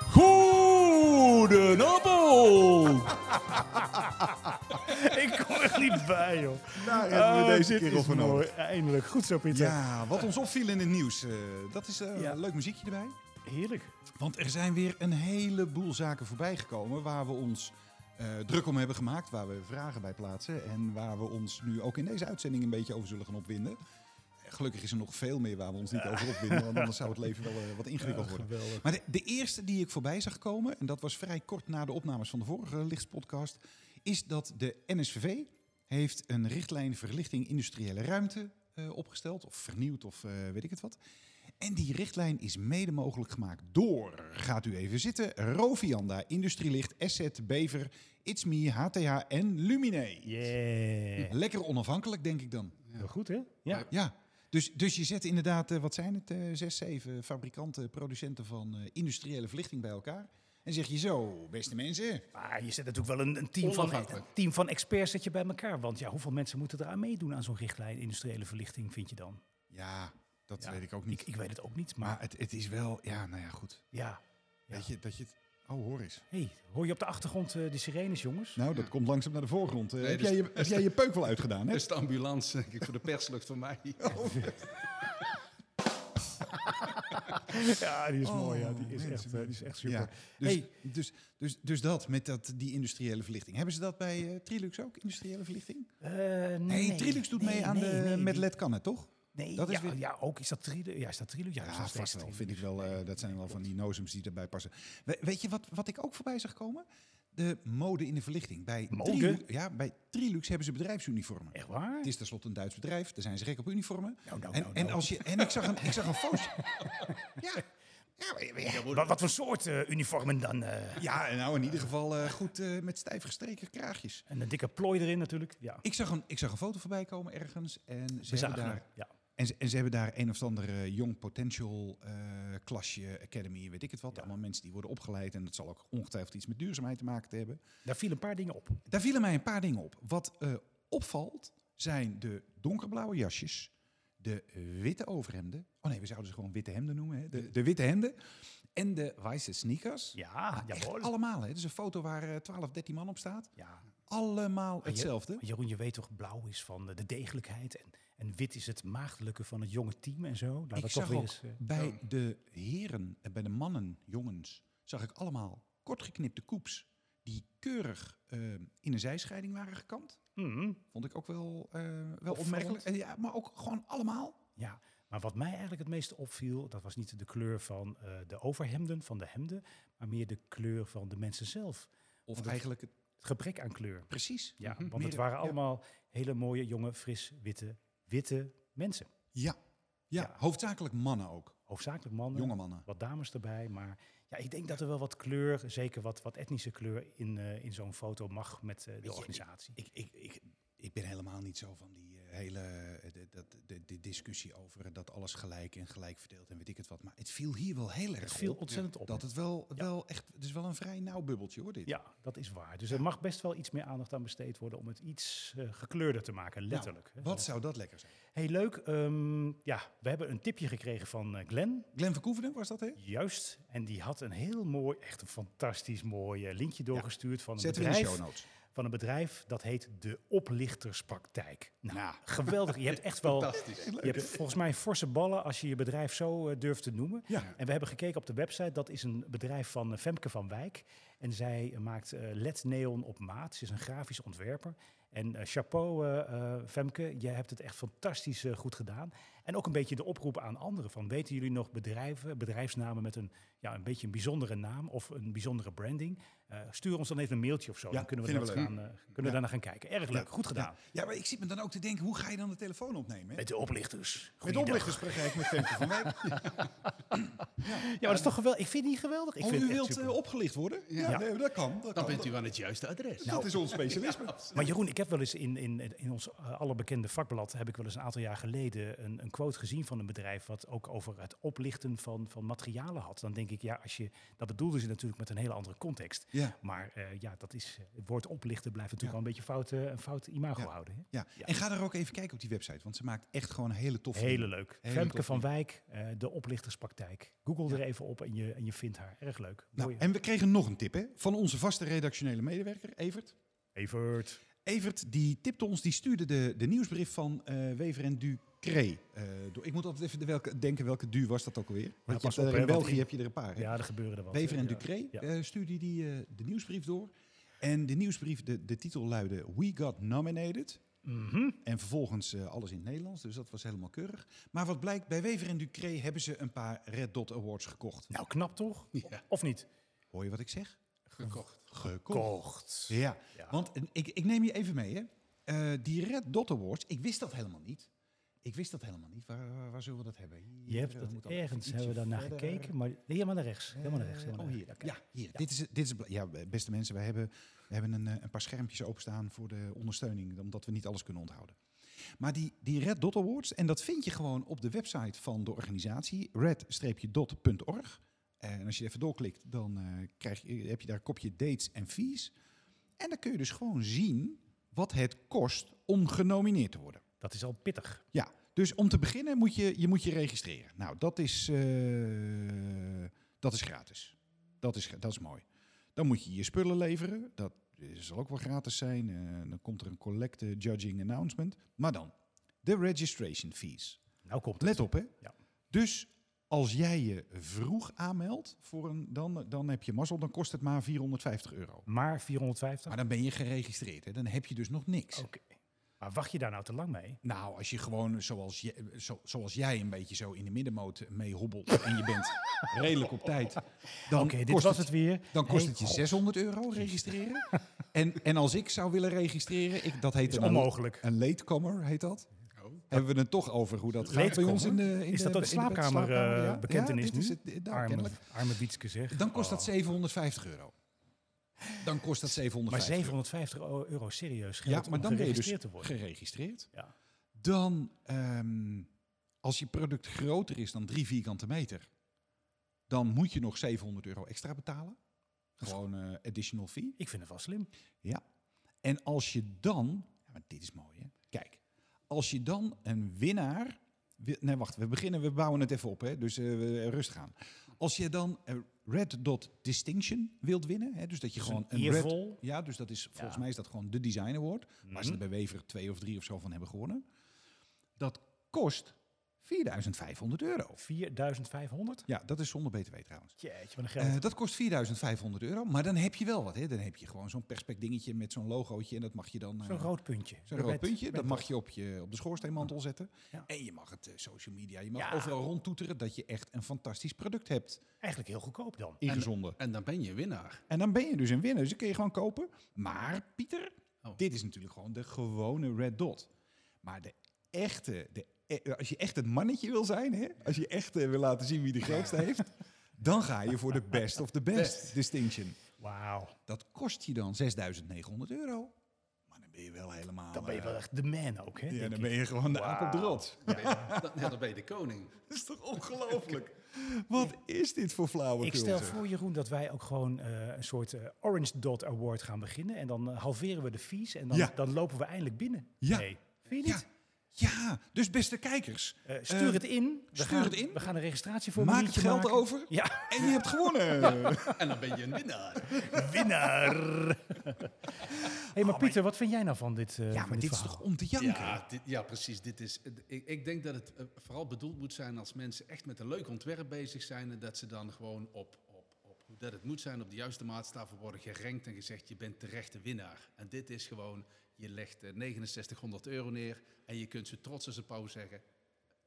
E: Goedenavond!
B: Ik kom er niet bij, joh.
C: Daar
B: Oh, dit is mooi. Eindelijk. Goed zo, Pieter.
C: Ja, wat ons opviel in het nieuws, eh, dat is eh,
B: Ja.
C: een leuk muziekje erbij.
B: Heerlijk.
C: Want er zijn weer een heleboel zaken voorbij gekomen waar we ons eh, druk om hebben gemaakt, waar we vragen bij plaatsen en waar we ons nu ook in deze uitzending een beetje over zullen gaan opwinden. Eh, Gelukkig is er nog veel meer waar we ons niet over opwinden, want anders zou het leven wel eh, wat ingewikkeld worden.
B: Geweldig.
C: Maar de, de eerste die ik voorbij zag komen, en dat was vrij kort na de opnames van de vorige Lichtspodcast, is dat de NSVV heeft een richtlijn verlichting industriële ruimte eh, opgesteld, of vernieuwd, of eh, weet ik het wat. En die richtlijn is mede mogelijk gemaakt door, gaat u even zitten, Rovianda, Industrielicht, Asset, Bever, It's Me, HTH en Lumine.
B: Yeah.
C: Lekker onafhankelijk, denk ik dan.
B: Heel goed, hè? Ja.
C: Ja, dus, dus je zet inderdaad, eh, wat zijn het, eh, zes, zeven fabrikanten, producenten van eh, industriële verlichting bij elkaar. En zeg je zo, beste mensen,
B: Maar Ah, je zet natuurlijk wel een, een team, van,
D: Onafhankelijk.
B: een team van experts zet je bij elkaar. Want ja, hoeveel mensen moeten eraan meedoen aan zo'n richtlijn industriële verlichting, vind je dan?
C: ja, dat
B: Ja,
C: weet ik ook niet.
B: Ik, ik weet het ook niet, maar
C: maar het, het is wel, ja, nou ja, goed.
B: ja. Ja.
C: Weet je, dat je het... Oh, hoor eens.
B: hey, hoor je op de achtergrond eh, de sirenes, jongens?
C: Nou, dat komt langzaam naar de voorgrond. Eh,
D: Nee,
C: heb,
D: dus-
C: jij je, heb jij je peuk wel uitgedaan, hè? Oh.
D: Dat is Dus de ambulance denk ik, voor de perslucht van mij.
B: Ja, die is mooi. Ja. Die, is
C: mensen,
B: echt, eh, die is echt super.
C: Ja, dus,
B: Hey.
C: dus, dus, dus dat met dat, die industriële verlichting. Hebben ze dat bij eh, Trilux ook, industriële verlichting?
B: Eh,
C: Nee, Trilux doet
B: nee,
C: mee aan
B: nee,
C: de,
B: nee,
C: met
B: die-
C: LED kan het, toch?
B: Nee,
C: dat
B: dat
C: is
B: is ja,
C: weer-
B: ja, ook is dat Trilux. Ja, is dat Trilux? Ja,
C: Ja,
B: is nog steeds
C: Ah, vast wel.
B: Trilux.
C: Vind ik wel, eh, dat zijn wel van die nozems die erbij passen. We- weet je wat, wat ik ook voorbij zag komen? De mode in de verlichting. Bij
B: Mode?
C: Trilu- ja, bij Trilux hebben ze bedrijfsuniformen.
B: Echt waar?
C: Het is tenslotte een Duits bedrijf, daar zijn ze gek op uniformen.
B: Nou, nou,
C: en,
B: nou,
C: en,
B: nou.
C: als je, en ik zag een, ik zag een foto. ja. Ja, maar- maar-
B: Wat, wat voor soort eh, uniformen dan? eh?
C: ja, en nou in ieder geval eh, goed eh, met stijf gestreken kraagjes.
B: En een dikke plooi erin natuurlijk. Ja,
C: Ik zag, een, ik zag een foto voorbij komen ergens. En ze, hebben daar,
B: hem. Ja.
C: en, ze, en ze hebben daar een of andere Young Potential eh, klasje, academy, weet ik het wat. Allemaal mensen die worden opgeleid. En dat zal ook ongetwijfeld iets met duurzaamheid te maken te hebben.
B: Daar vielen een paar dingen op.
C: Daar vielen mij een paar dingen op. Wat eh, opvalt zijn de donkerblauwe jasjes, de witte overhemden. Oh nee, we zouden ze gewoon witte hemden noemen. Hè? De, de witte hemden. En de wijze sneakers.
B: Ja,
C: Ah, Echt
B: jawohl.
C: allemaal. Hè? Het is een foto waar eh, 12, 13 man op staat.
B: Ja.
C: Allemaal hetzelfde.
B: Maar Jeroen, Ah, je weet toch, blauw is van eh, de degelijkheid. En, en wit is het maagdelijke van het jonge team en zo. Laat
C: Ik
B: dat
C: zag
B: toch weer
C: ook
B: eens, eh,
C: bij de heren, eh, bij de mannen, jongens, zag ik allemaal kortgeknipte koeps die keurig eh, in een zijscheiding waren gekant.
B: Mhm.
C: Vond ik ook wel, eh, wel
B: Opvallend.
C: opmerkelijk. En ja, maar ook gewoon allemaal.
B: Ja, maar wat mij eigenlijk het meeste opviel, dat was niet de kleur van eh, de overhemden, van de hemden, maar meer de kleur van de mensen zelf.
C: Of
B: het-
C: eigenlijk het,
B: Het gebrek aan kleur.
C: precies.
B: Ja,
D: Mhm.
B: want het
C: Meer-
B: waren
C: ja.
B: allemaal hele mooie, jonge, fris, witte, witte mensen.
C: Ja. Ja,
B: Ja.
C: hoofdzakelijk mannen ook.
B: Hoofdzakelijk mannen,
C: Jonge mannen.
B: wat dames erbij. Maar ja, ik denk dat er wel wat kleur, zeker wat, wat etnische kleur, in, eh, in zo'n foto mag met eh,
C: je,
B: de
C: ik-
B: organisatie.
C: Ik, ik, ik, ik ben helemaal niet zo van die eh, hele eh, de, dat- de, de discussie over eh, dat alles gelijk en gelijk verdeeld en weet ik het wat. Maar het viel hier wel heel erg
B: Het viel
C: op.
B: ontzettend op.
C: Dat het wel, wel echt, het is wel een vrij nauw bubbeltje hoor dit.
B: Ja, dat is waar. Dus er mag best wel iets meer aandacht aan besteed worden om het iets eh, gekleurder te maken,
C: Nou,
B: letterlijk. hè.
C: Wat zou dat lekker zijn?
B: Hey, leuk. Ehm, ja, we hebben een tipje gekregen van eh, Glenn.
C: Glenn Verkoevenen was dat hè?
B: Juist. En die had een heel mooi, echt een fantastisch mooi eh, linkje doorgestuurd van, een
C: Zetten we in de
B: bedrijf,
C: show notes.
B: van een bedrijf dat heet De Oplichterspraktijk. Nou,
C: Nou.
B: geweldig. Je hebt echt wel...
D: Fantastisch.
B: Je hebt volgens mij forse ballen als je je bedrijf zo eh, durft te noemen.
C: Ja.
B: En we hebben gekeken op de website. Dat is een bedrijf van eh, Femke van Wijk. En zij eh, maakt eh, LED neon op maat. Ze is een grafisch ontwerper. En eh, chapeau, eh, eh, Femke, jij hebt het echt fantastisch eh, goed gedaan. En ook een beetje de oproep aan anderen. Van, weten jullie nog bedrijven, bedrijfsnamen met een, ja, een beetje een bijzondere naam of een bijzondere branding? Eh, stuur ons dan even een mailtje of zo.
C: Ja,
B: dan kunnen we, dat
C: vinden we
B: gaan, eh, kunnen we daarna gaan kijken. Erg leuk, goed gedaan.
C: Ja. ja, maar ik zit me dan ook te denken, hoe ga je dan de telefoon opnemen? Hè?
B: Met de oplichters.
C: Met
B: Goeiedag.
C: oplichterspraktijk met Femke van Wijk.
B: Ja, maar dat is toch geweldig. Ik vind die geweldig. Ik
C: Als
B: vind
C: u
B: het echt
C: wilt eh,
B: super.
C: opgelicht worden, ja,
B: Ja.
C: nee, dat kan. Dat,
D: Dan
C: kan.
D: bent u aan het juiste adres.
B: Nou.
C: dat is ons specialisme.
B: Maar Jeroen, ik heb wel eens in, in, in ons eh, allerbekende vakblad, heb ik wel eens een aantal jaar geleden een, een quote gezien van een bedrijf wat ook over het oplichten van, van materialen had. Dan denk ik, ja, als je, dat bedoelden ze natuurlijk met een hele andere context.
C: Ja.
B: Maar eh, ja, dat is, het woord oplichten blijft natuurlijk al een beetje fout, eh, een fout imago
C: Ja.
B: houden. Hè?
C: Ja.
B: Ja.
C: en ga daar ook even kijken op die website, want ze maakt echt gewoon hele toffe
B: Hele
C: dingen.
B: leuk.
C: Hele
B: Femke
C: tof
B: van Wijk, eh, de oplichterspraktijk. Google er even op en je, en je vindt haar. Erg leuk.
C: Nou,
B: Mooi.
C: en we kregen nog een tip hè, van onze vaste redactionele medewerker, Evert.
B: Evert.
C: Evert die tipte ons, die stuurde de, de nieuwsbrief van eh, Wever en Ducré. eh, door. ik moet altijd even de welke, denken welke du was dat ook alweer. Want je
B: pas op,
C: hebt er
B: hè,
C: in
B: want
C: België
B: in-
C: heb je er een paar. hè?
B: Ja, er gebeuren er wat.
C: Wever en
B: Ja.
C: Ducré
B: Ja.
C: eh, stuurde die eh, de nieuwsbrief door. En de nieuwsbrief, de, de titel luidde We Got Nominated.
B: Mhm.
C: En vervolgens eh, alles in het Nederlands, dus dat was helemaal keurig. Maar wat blijkt, bij Wever en Ducré hebben ze een paar Red Dot Awards gekocht.
B: Nou, knap toch?
D: Ja.
B: Of niet?
C: Hoor je wat ik zeg?
D: Gekocht.
C: Gekocht.
B: Kocht.
C: Ja,
B: Ja.
C: want eh, ik, ik neem je even mee, hè. Eh, die Red Dot Awards, ik wist dat helemaal niet. Ik wist dat helemaal niet. Waar, waar, waar zullen we dat hebben? Hier,
B: Je hebt
C: we
B: het
C: moeten altijd
B: ergens,
C: ietsje
B: hebben we daarnaar
C: verder.
B: gekeken, maar helemaal naar rechts. Helemaal naar
C: Eh,
B: rechts. helemaal
C: oh,
B: naar
C: hier.
B: rechts.
C: Ja, hier. Dit is, het- dit is, het bla- ja, beste mensen, wij hebben, we hebben een, eh, een paar schermpjes openstaan voor de ondersteuning, omdat we niet alles kunnen onthouden. Maar die, die Red Dot Awards, en dat vind je gewoon op de website van de organisatie, red-dot.org. Eh, En als je even doorklikt, dan eh, krijg je, heb je daar een kopje dates en fees. En dan kun je dus gewoon zien wat het kost om genomineerd te worden.
B: Dat is al pittig.
C: Ja, dus om te beginnen moet je je, moet je registreren. Nou, dat is, eh, dat is gratis. Dat is, gra- dat is mooi. Dan moet je je spullen leveren. Dat zal ook wel gratis zijn. Eh, dan komt er een collecte judging announcement. Maar dan, de registration fees.
B: Nou komt het.
C: Let op, hè?
B: Ja.
C: Dus als jij je vroeg aanmeldt, voor een, dan, dan heb je mazzel. Dan kost het maar 450 euro.
B: Maar 450?
C: Maar dan ben je geregistreerd, hè? Dan heb je dus nog niks.
B: Oké. Maar wacht je daar nou te lang mee?
C: Nou, als je gewoon zoals, je, eh, zo, zoals jij een beetje zo in de middenmoot mee hobbelt en je bent redelijk op tijd, dan
B: Oké, dit
C: kost,
B: was
C: het,
B: het weer.
C: dan kost
B: Hey,
C: het je
B: God,
C: 600 euro registreren. en, en als ik zou willen registreren, ik, dat heet
B: is
C: dan een,
B: onmogelijk.
C: een latecomer, heet dat.
D: Oh.
C: Hebben we het toch over hoe dat gaat bij ons in de in
B: Is dat een
C: de- in de bed-
B: slaapkamer, eh,
C: ja?
B: bekentenis
C: ja, dit
B: nu?
C: Is het, eh, nou,
B: Arme,
C: kennelijk.
B: arme Wietske zeg.
C: Dan kost dat
B: Oh.
C: 750 euro. Dan kost dat 750
B: Maar
C: euro.
B: 750 euro euro serieus
C: Ja,
B: geld
C: maar
B: om
C: dan ben je dus
B: geregistreerd te worden.
C: geregistreerd.
B: Ja.
C: Dan, ehm, als je product groter is dan drie vierkante meter, dan moet je nog 700 euro extra betalen. Gewoon eh, additional fee.
B: Ik vind het wel slim.
C: Ja. En als je dan, ja, maar dit is mooi hè, kijk. Als je dan een winnaar, wi- nee wacht, we beginnen, we bouwen het even op hè, dus eh, we- rustig aan. Als je dan een Red Dot Distinction wilt winnen, hè, dus dat je
B: Dus
C: gewoon
B: een
C: een Red
B: eervol.
C: ja, dus dat is, volgens
B: Ja.
C: mij is dat gewoon de design award. Waar ze
B: Mhm.
C: er bij Wever twee of drie of zo van hebben gewonnen. Dat kost 450 4500 euro.
B: 4500?
C: Ja, dat is zonder BTW trouwens.
B: Jeetje, wat een geld.
C: Eh, dat kost 4500 euro, maar dan heb je wel wat. Hè? Dan heb je gewoon zo'n perspect dingetje met zo'n logootje en dat mag je dan... eh,
B: Zo'n rood puntje.
C: Zo'n
B: Met-
C: rood puntje,
B: met
C: dat mag je op, je op de schoorsteenmantel zetten.
B: Ja.
C: En je mag het eh, social media, je mag
B: Ja.
C: overal rondtoeteren dat je echt een fantastisch product hebt
B: Eigenlijk heel goedkoop dan.
C: ingezonden.
D: En dan ben je winnaar.
C: En dan ben je dus een winnaar, dus die kun je gewoon kopen. Maar Pieter,
D: Oh.
C: dit is natuurlijk gewoon de gewone red dot. Maar de echte, de, e- als je echt het mannetje wil zijn, hè? als je echt eh, wil laten zien wie de grootste heeft... Dan ga je voor de best of the best, distinction.
B: Wauw.
C: Dat kost je dan 6.900 euro. Maar dan ben je wel helemaal...
B: Dan ben je
C: eh,
B: wel echt de man ook, hè?
C: ja,
B: denk
C: dan
B: ik.
C: ben je gewoon de aap op de
B: Wauw.
C: rots.
D: Dan ben je- dan- ja, dan ben je de koning.
C: Dat is toch ongelooflijk? Wat is dit voor flauwekul?
B: Ik stel
C: zeg?
B: voor, Jeroen, dat wij ook gewoon eh, een soort eh, Orange Dot Award gaan beginnen. En dan eh, halveren we de fees en dan,
C: Ja.
B: dan lopen we eindelijk binnen.
C: Ja.
B: Nee, vind je
C: Ja,
B: niet?
C: ja, dus beste kijkers,
B: Eh, stuur
C: Eh,
B: het in. We
C: stuur
B: gaan,
C: het in.
B: We gaan een registratieformulier
C: maak het geld
B: maken.
C: over
B: Ja,
C: en je hebt gewonnen.
D: En dan ben je een winnaar.
B: winnaar. hey, maar Pieter, wat vind jij nou van dit eh,
C: Oh, ja,
B: van
C: maar
B: dit
C: dit is
B: verhaal?
C: toch om te janken?
D: Ja, dit- ja precies. Dit is, ik, ik denk dat het eh, vooral bedoeld moet zijn als mensen echt met een leuk ontwerp bezig zijn. En dat ze dan gewoon op, op, op hoe dat het moet zijn, op de juiste maatstaven worden gerankt en gezegd: je bent terecht de winnaar. En dit is gewoon: je legt eh, 6900 euro neer en je kunt ze trots als een pauw zeggen: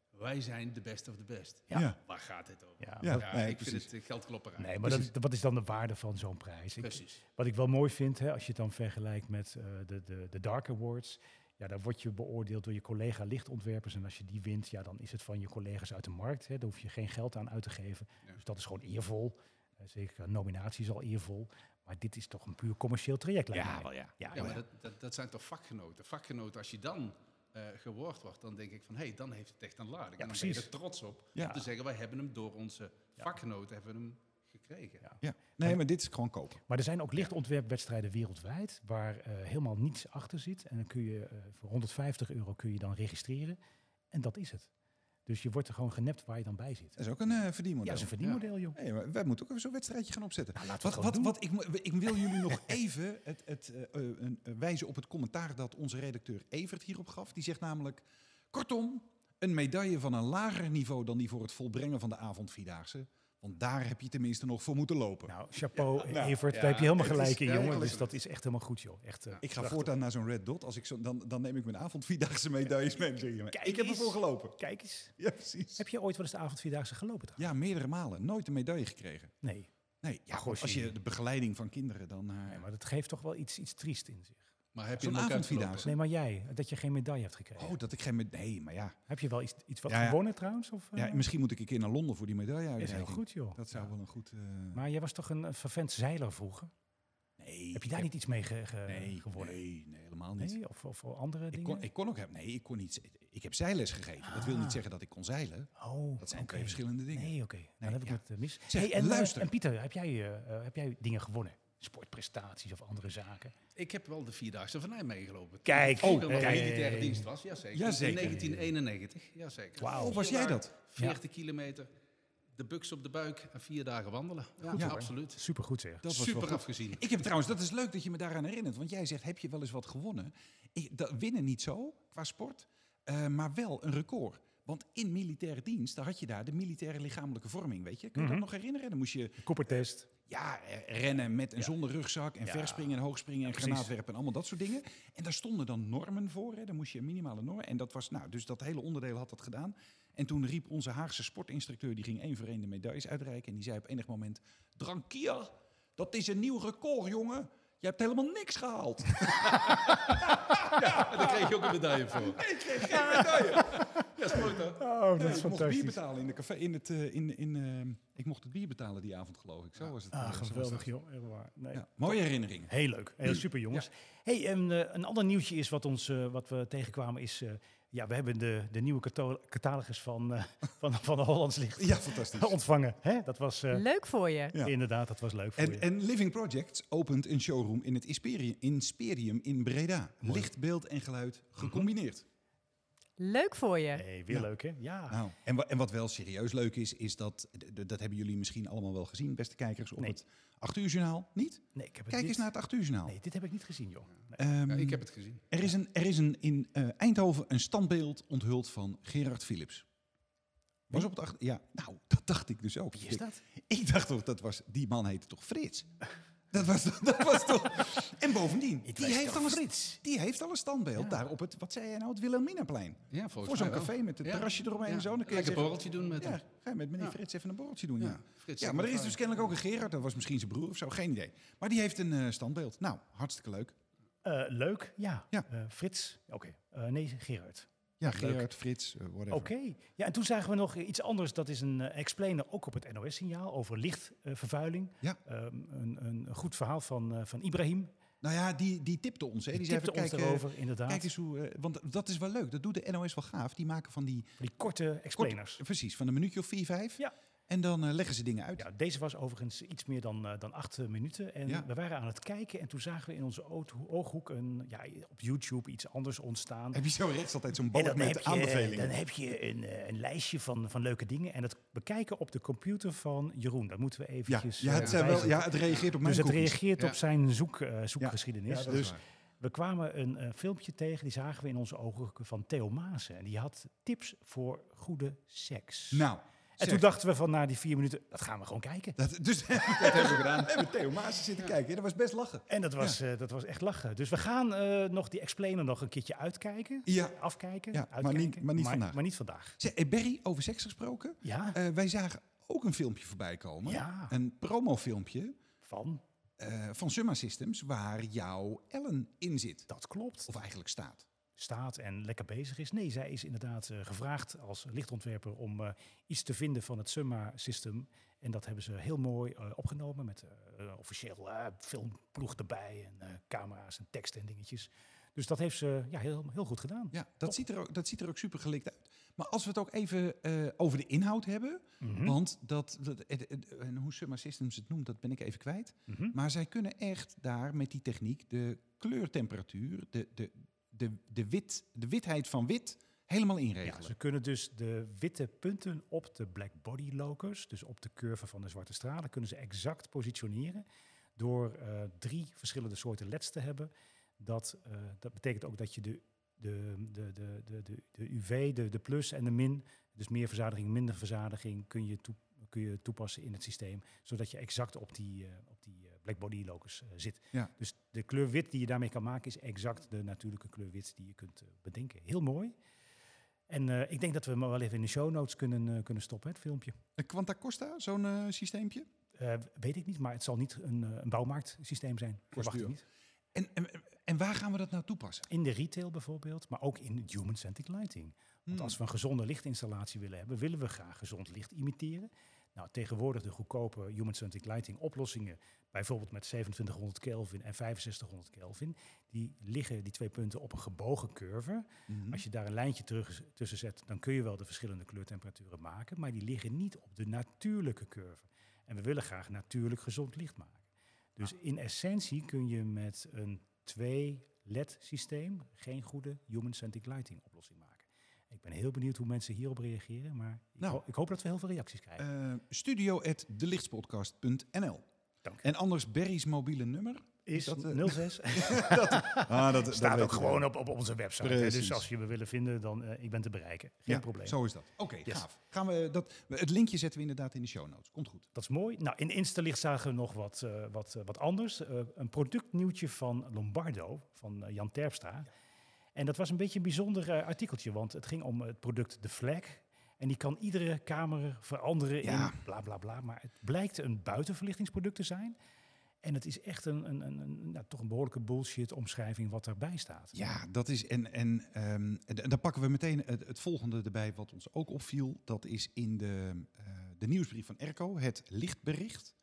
D: wij zijn de best of the best.
B: Ja.
C: Ja.
D: Waar gaat dit over?
B: Ja,
C: Ja, nee,
D: ik
C: precies.
D: vind het eh, geldklopperij.
B: Nee, maar dat, wat is dan de waarde van zo'n prijs? Ik,
D: Precies.
B: Wat ik wel mooi vind, hè, als je het dan vergelijkt met eh, de, de, de Dark Awards. Ja, dan word je beoordeeld door je collega lichtontwerpers. En als je die wint, ja, dan is het van je collega's uit de markt. Hè. Daar hoef je geen geld aan uit te geven.
D: Ja.
B: Dus dat is gewoon eervol. Eh, zeker een nominatie is al eervol. Maar dit is toch een puur commercieel traject, lijkt mij.
C: ja.
B: Ja,
D: Ja,
B: ja.
D: maar dat, dat, dat zijn toch vakgenoten. Vakgenoten, als je dan eh gewoord wordt, dan denk ik van... hé, hey, dan heeft het echt een lading. en dan ben je
B: precies.
D: er trots op
C: Ja.
D: om te zeggen... wij hebben hem door onze vakgenoten hebben we hem gekregen.
B: Ja.
C: Ja. Nee, maar dit is gewoon kopen.
B: Maar er zijn ook lichtontwerpwedstrijden wereldwijd waar eh, helemaal niets achter zit. En dan kun je eh, voor 150 euro kun je dan registreren. En dat is het. Dus je wordt er gewoon genept waar je dan bij zit.
C: Dat is ook een eh,
B: Ja,
C: verdienmodel.
B: dat is een verdienmodel, joh.
C: Nee, maar wij moeten ook even zo'n wedstrijdje gaan opzetten.
B: Nou, laten we
C: wat,
B: het
C: wat,
B: gewoon
C: wat, ik, mo- ik wil jullie nog even het, het, eh, eh, een- eh, wijzen op het commentaar dat onze redacteur Evert hierop gaf. Die zegt namelijk, kortom, een medaille van een lager niveau dan die voor het volbrengen van de avondvierdaagse. Want daar heb je tenminste nog voor moeten lopen.
B: Nou, chapeau,
C: nou,
B: Evert,
D: ja,
B: daar heb je helemaal
C: het is
B: gelijk in, jongen.
C: eigenlijk-
B: Dus dat is echt helemaal goed, joh. Echt, eh,
C: ik ga
B: prachtig.
C: voortaan naar zo'n red dot. Als ik zo, dan, dan neem ik mijn avondvierdaagse medailles mee. Zeg je maar,
B: Kijk
C: ik heb
B: eens.
C: ervoor gelopen.
B: Kijk eens.
C: Ja, precies.
B: Heb je ooit wel eens de avondvierdaagse gelopen? trouwens?
C: Ja, meerdere malen. Nooit een medaille gekregen.
B: Nee.
C: Nee, ja,
B: Goh,
C: als je
B: zie.
C: de begeleiding van kinderen dan... eh,
B: nee, maar dat geeft toch wel iets, iets triest in zich.
D: Maar heb je
C: Zo'n
D: hem ook
C: avondvierdaagse.
D: uitgelopen?
B: Nee, maar jij, dat je geen medaille hebt gekregen.
C: Oh, dat ik geen... med- Nee, maar ja.
B: Heb je wel iets, iets wat
C: Ja, ja.
B: gewonnen trouwens? Of, eh?
C: Ja, misschien moet ik een keer naar Londen voor die medaille
B: is heel
C: uitreiken.
B: goed, joh.
C: Dat zou wel een goed. eh,
B: Maar jij was toch een, een vervent zeiler vroeger?
C: nee,
B: Heb je daar
C: ik
B: niet iets mee ge- ge-
C: nee,
B: gewonnen?
C: Nee, nee, helemaal niet.
B: Nee, Of, of andere
C: ik,
B: dingen?
C: kon, ik kon ook hebben. Nee, ik kon niet. ze- Ik heb zijles gegeven. Dat wil niet zeggen dat ik kon zeilen.
B: oh,
C: Dat zijn
B: Ah. oké.
C: twee verschillende dingen.
B: Nee, oké. Dan heb ik
C: ja.
B: het eh, mis.
C: Zeg,
B: hey, en, eh,
C: luister.
B: en Pieter, heb jij, eh, eh, heb jij dingen gewonnen? Sportprestaties of andere zaken?
D: Ik heb wel de Vierdaagse van Nijn meegelopen.
B: Kijk,
D: Toen ik
C: Oh,
D: nog
B: hey.
D: in militaire dienst was, jazeker.
C: Jazeker.
D: In 1991, jazeker.
B: Wauw.
C: Oh, was
D: Vier
C: jij
D: dagen,
C: dat?
D: 40 kilometer, de buks op de buik en vier dagen wandelen. Ja,
C: hoor.
D: absoluut.
B: Supergoed zeg.
C: Dat was wel
D: Super
C: goed.
D: afgezien.
C: Ik heb trouwens, dat is leuk dat je me daaraan herinnert. Want jij zegt, heb je wel eens wat gewonnen? Ik, dat, winnen niet zo, qua sport, eh, maar wel een record. Want in militaire dienst, daar had je daar de militaire lichamelijke vorming, weet je? Kun je dat nog herinneren? Dan moest je
B: Koppertest.
C: Ja, eh, rennen met en zonder rugzak en verspringen en hoogspringen en
B: precies.
C: granaatwerpen en allemaal dat soort dingen. En daar stonden dan normen voor, hè. daar moest je een minimale norm. En dat was, nou, dus dat hele onderdeel had dat gedaan. En toen riep onze Haagse sportinstructeur, die ging één voor één de medailles uitreiken. En die zei op enig moment, Drankier, dat is een nieuw record, jongen. Je hebt helemaal niks gehaald.
D: En daar kreeg je ook een medaille voor.
C: Ik kreeg geen medaille.
D: Ja, is mooi toch?
B: Oh, dat
C: ik mocht bier betalen in de café. In het, eh, in, in, eh, ik mocht het bier betalen die avond, geloof ik. Zo was het. eh,
B: Ah,
C: Zo was
B: geweldig
C: dat.
B: joh. Echt waar. Nee.
C: Ja, mooie herinneringen.
B: Heel leuk. Heel super jongens. Hey, en, eh, een ander nieuwtje is wat, ons, eh, wat we tegenkwamen is... eh, ja, we hebben de, de nieuwe catalo- catalogus van, eh, van, van de Hollands Licht
C: Ja, fantastisch.
B: ontvangen. Hè? Dat was... eh,
F: Leuk voor je.
C: Ja.
B: Inderdaad, dat was leuk voor je.
C: En, en Living Projects opent een showroom in het Insperium, Insperium in Breda. Licht, beeld en geluid gecombineerd.
F: Leuk voor je.
B: Hey, weer leuk, hè? Ja.
C: Nou, en, wa- en wat wel serieus leuk is, is dat, d- d- dat hebben jullie misschien allemaal wel gezien, beste kijkers, op
B: Nee.
C: het 8 uur journaal. Niet?
B: Nee, ik heb het
C: Kijk
B: dit-
C: eens naar het 8 uur journaal.
B: Nee, dit heb ik niet gezien, joh. Nee.
C: Ehm,
D: Ja, ik heb het gezien.
C: Er is, een, er is een, in eh, Eindhoven een standbeeld onthuld van Gerard Philips. Was op het achter... Ja, nou, dat dacht ik dus ook.
B: Wie is dat?
C: Ik dacht toch, dat was, die man heette toch Frits? Dat was, toch- dat was toch... En bovendien,
B: Het
C: die
B: was
C: heeft,
B: toch
C: al een,
B: Frits?
C: die heeft al een standbeeld
D: Ja.
C: daar op het, wat zei jij nou, het Wilhelminaplein.
D: Ja, volgens
C: Voor zo'n
D: mij wel.
C: café met een
D: Ja.
C: terrasje eromheen en zo. Dan kun je
D: Lekker
C: zeggen-
D: borreltje doen met
C: Ja,
D: hem.
C: ga je met meneer
D: Ja.
C: Frits even een borreltje doen. Ja, ja.
D: Frits
C: maar er is
D: Appelfijn.
C: dus kennelijk ook een Gerard, dat was misschien zijn broer of zo, geen idee. Maar die heeft een eh, standbeeld. Nou, hartstikke leuk.
B: Eh, leuk, ja.
C: Ja.
B: Eh, Frits, oké. Eh, nee, Gerard.
C: Ja,
B: Leuk.
C: Gerard, Frits, eh, whatever.
B: Oké. Ja, en toen zagen we nog iets anders. Dat is een eh, explainer, ook op het NOS-signaal, over lichtvervuiling. Ehm,
C: Ja.
B: een, een goed verhaal van, eh, van Ibrahim.
C: Nou ja, die, die tipte ons. Hè. Die,
B: Die
C: zei
B: tipte
C: van,
B: ons
C: kijk, eh,
B: daarover, inderdaad.
C: Kijk eens hoe, eh, want dat is wel leuk. Dat doet de NOS wel gaaf. Die maken van die
B: die korte
C: kort-
B: explainers.
C: precies, van een minuutje of vier, vijf.
B: Ja.
C: En dan eh, leggen ze dingen uit.
B: Ja, deze was overigens iets meer dan, eh, dan acht eh, minuten. En
C: Ja.
B: we waren aan het kijken en toen zagen we in onze oog- ooghoek een, ja, op YouTube iets anders ontstaan.
C: Heb je zo rechts altijd zo'n
B: En
C: balk
B: dan
C: met
B: heb, je, eh, dan
C: aanbevelingen?
B: heb je een, eh, een lijstje van, van leuke dingen. En dat bekijken op de computer van Jeroen. Dat moeten we
C: Ja,
B: eventjes...
C: ja, het,
B: eh,
C: zijn wel,
B: bijzetten.
C: ja, het reageert op mijn
B: dus het
C: cookies.
B: reageert
D: Ja.
B: op zijn zoek, eh,
C: Ja,
B: zoekgeschiedenis.
C: dat is
B: dus
C: waar.
B: we kwamen een eh, filmpje tegen, die zagen we in onze ogen van Theo Maassen. En die had tips voor goede seks.
C: Nou,
B: en
C: zeg,
B: toen dachten we van na die vier minuten, dat gaan we gewoon kijken.
C: dat, dus, dat hebben we gedaan. We hebben Theo Maas zitten kijken. Ja, Dat was best lachen.
B: En dat was, eh, dat was echt lachen. Dus we gaan eh, nog die explainer nog een keertje uitkijken.
C: Ja.
B: Afkijken,
C: Ja, maar
B: uitkijken.
C: niet- maar niet vandaag.
B: Maar niet vandaag.
C: Zeg, eh, Berry, over seks gesproken.
B: Ja,
C: Eh, wij zagen ook een filmpje voorbij komen.
B: Ja.
C: Een promofilmpje
B: van,
C: eh, van Summa Systems waar jouw Ellen in zit.
B: dat klopt.
C: Of eigenlijk staat.
B: Staat en lekker bezig is. Nee, zij is inderdaad eh, gevraagd als lichtontwerper om eh, iets te vinden van het Summa-system. En dat hebben ze heel mooi eh, opgenomen met eh, eh, officieel eh, filmploeg erbij en eh, camera's en teksten en dingetjes. Dus dat heeft ze ja, heel, heel goed gedaan.
C: Ja,
B: Top.
C: dat ziet, er ook, dat ziet er ook super gelikt uit. Maar als we het ook even eh, over de inhoud hebben.
B: Mhm.
C: Want dat, dat, het- het- en hoe Summa Systems het noemt, dat ben ik even kwijt.
B: Mhm.
C: Maar zij kunnen echt daar met die techniek de kleurtemperatuur, de, de, de, de, wit, de witheid van wit, helemaal
B: Ja,
C: inregelen.
B: ze kunnen dus de witte punten op de black body locus, dus op de curve van de zwarte stralen, kunnen ze exact positioneren door eh, drie verschillende soorten leds te hebben. Dat, eh, dat betekent ook dat je de, de, de, de, de, de, de UV, de, de plus en de min, dus meer verzadiging, minder verzadiging, kun je, toe, kun je toepassen in het systeem, zodat je exact op die, eh, op die eh, black body locus eh, zit.
C: Ja.
B: Dus de kleur wit die je daarmee kan maken is exact de natuurlijke kleur wit die je kunt eh, bedenken. Heel mooi. En eh, ik denk dat we hem wel even in de show notes kunnen, eh, kunnen stoppen, het filmpje.
C: Een Quanta Costa, zo'n eh, systeempje.
B: Eh, weet ik niet, maar het zal niet een, eh, een bouwmarktsysteem zijn. Verwacht ik
C: duur.
B: niet.
C: En, en, en waar gaan we dat nou toepassen?
B: In de retail bijvoorbeeld, maar ook in human-centered lighting. Want
C: Hmm.
B: als we een gezonde lichtinstallatie willen hebben, willen we graag gezond licht imiteren. Nou, tegenwoordig de goedkope human-centered lighting oplossingen, bijvoorbeeld met 2700 Kelvin en 6500 Kelvin, die liggen die twee punten op een gebogen curve.
C: Mhm.
B: Als je daar een lijntje terug, tussen zet, dan kun je wel de verschillende kleurtemperaturen maken, maar die liggen niet op de natuurlijke curve. En we willen graag natuurlijk gezond licht maken. Dus in essentie kun je met een 2-LED systeem geen goede human-centric lighting oplossing maken. Ik ben heel benieuwd hoe mensen hierop reageren, maar ik,
C: Nou.
B: ho- ik hoop dat we heel veel reacties krijgen.
C: Eh, studio at delichtspodcast.nl.
B: Dank
C: En anders Berry's mobiele nummer.
B: is
C: dat, eh,
B: 06
C: Ah, dat,
B: staat ook gewoon op, op onze website. hè. Dus
C: Precies.
B: als je me willen vinden, dan eh, ik ben te bereiken. Geen probleem.
C: Zo is dat. Oké,
B: Yes.
C: gaaf. Gaan we dat, het linkje zetten we inderdaad in de show notes. Komt goed.
B: Dat is mooi. Nou, in Instalicht zagen we nog wat, eh, wat, eh, wat anders. Eh, een productnieuwtje van Lombardo, van eh, Jan Terpstra. En dat was een beetje een bijzonder eh, artikeltje, want het ging om het product De Flag. En die kan iedere kamer veranderen
C: Ja.
B: in bla bla bla. Maar het blijkt een buitenverlichtingsproduct te zijn. En het is echt een, een, een, een- nou, toch een behoorlijke bullshit omschrijving wat daarbij staat.
C: Ja, dat is. En, en, ehm, en dan pakken we meteen het, het volgende erbij, wat ons ook opviel. Dat is in de, eh, de nieuwsbrief van ERCO, het lichtbericht.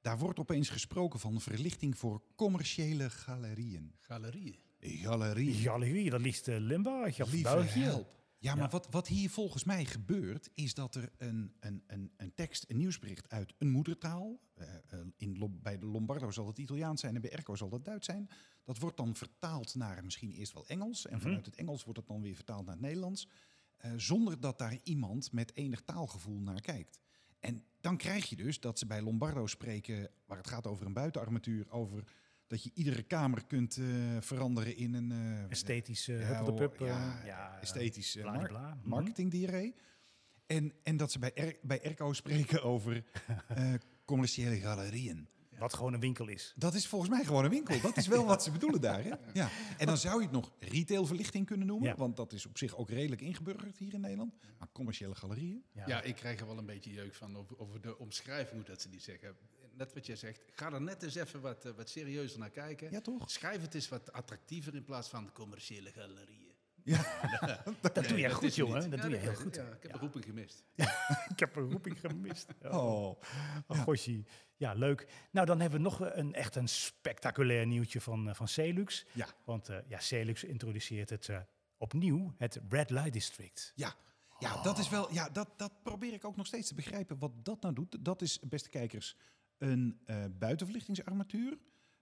C: Daar wordt opeens gesproken van verlichting voor commerciële galerieën.
D: Galerie.
C: Galerieën.
B: Jaloerie, dat liefst uh, Limburg of
C: Lieve
B: België.
C: help. Ja, maar
B: Ja.
C: Wat, wat hier volgens mij gebeurt, is dat er een, een, een, een tekst, een nieuwsbericht uit een moedertaal, eh, eh, in, Lom- bij de Lombardo zal het Italiaans zijn en bij Erco zal dat Duits zijn, dat wordt dan vertaald naar misschien eerst wel Engels en
B: Mhm.
C: vanuit het Engels wordt het dan weer vertaald naar het Nederlands, eh, zonder dat daar iemand met enig taalgevoel naar kijkt. En dan krijg je dus dat ze bij Lombardo spreken, waar het gaat over een buitenarmatuur, over dat je iedere kamer kunt eh, veranderen in een... eh,
B: Esthetische
C: ja,
B: huppeldepup.
C: hoor,
B: eh,
C: ja,
B: ja,
C: esthetisch eh,
B: bla, bla,
C: mark-
B: bla. Mhm.
C: marketingdiarree. En, en dat ze bij, R- bij Erco spreken over eh, commerciële galerieën.
B: Wat gewoon een winkel is.
C: Dat is volgens mij gewoon een winkel. Dat is wel wat ze bedoelen daar. Hè? Ja. En dan zou je het nog retailverlichting kunnen noemen.
B: Ja.
C: Want dat is op zich ook redelijk ingeburgerd hier in Nederland. Maar commerciële galerieën.
B: Ja.
D: Ja, ik krijg er wel een beetje jeuk van over, over de omschrijving, hoe dat ze die zeggen. Net wat jij zegt, ga er net eens even wat, eh, wat serieuzer naar kijken.
C: Ja, toch?
D: Schrijf het eens wat attractiever in plaats van commerciële galerieën.
B: Dat doe
D: Nee,
B: jij
D: dat
B: goed,
D: is hem
B: jongen.
D: niet.
B: Dat
D: Ja,
B: doe je heel
D: is-
B: goed.
D: ja, ik heb de roeping gemist.
B: Ik heb een roeping gemist.
C: Oh.
B: Oh, Gosje. Ja, leuk. Nou, dan hebben we nog een echt een spectaculair nieuwtje van, eh, van Celux.
C: Ja.
B: Want eh, ja, Celux introduceert het eh, opnieuw, het Red Light District.
C: Ja. Ja, dat is wel. Ja, dat, dat probeer ik ook nog steeds te begrijpen. Wat dat nou doet, dat is, beste kijkers, een eh, buitenverlichtingsarmatuur.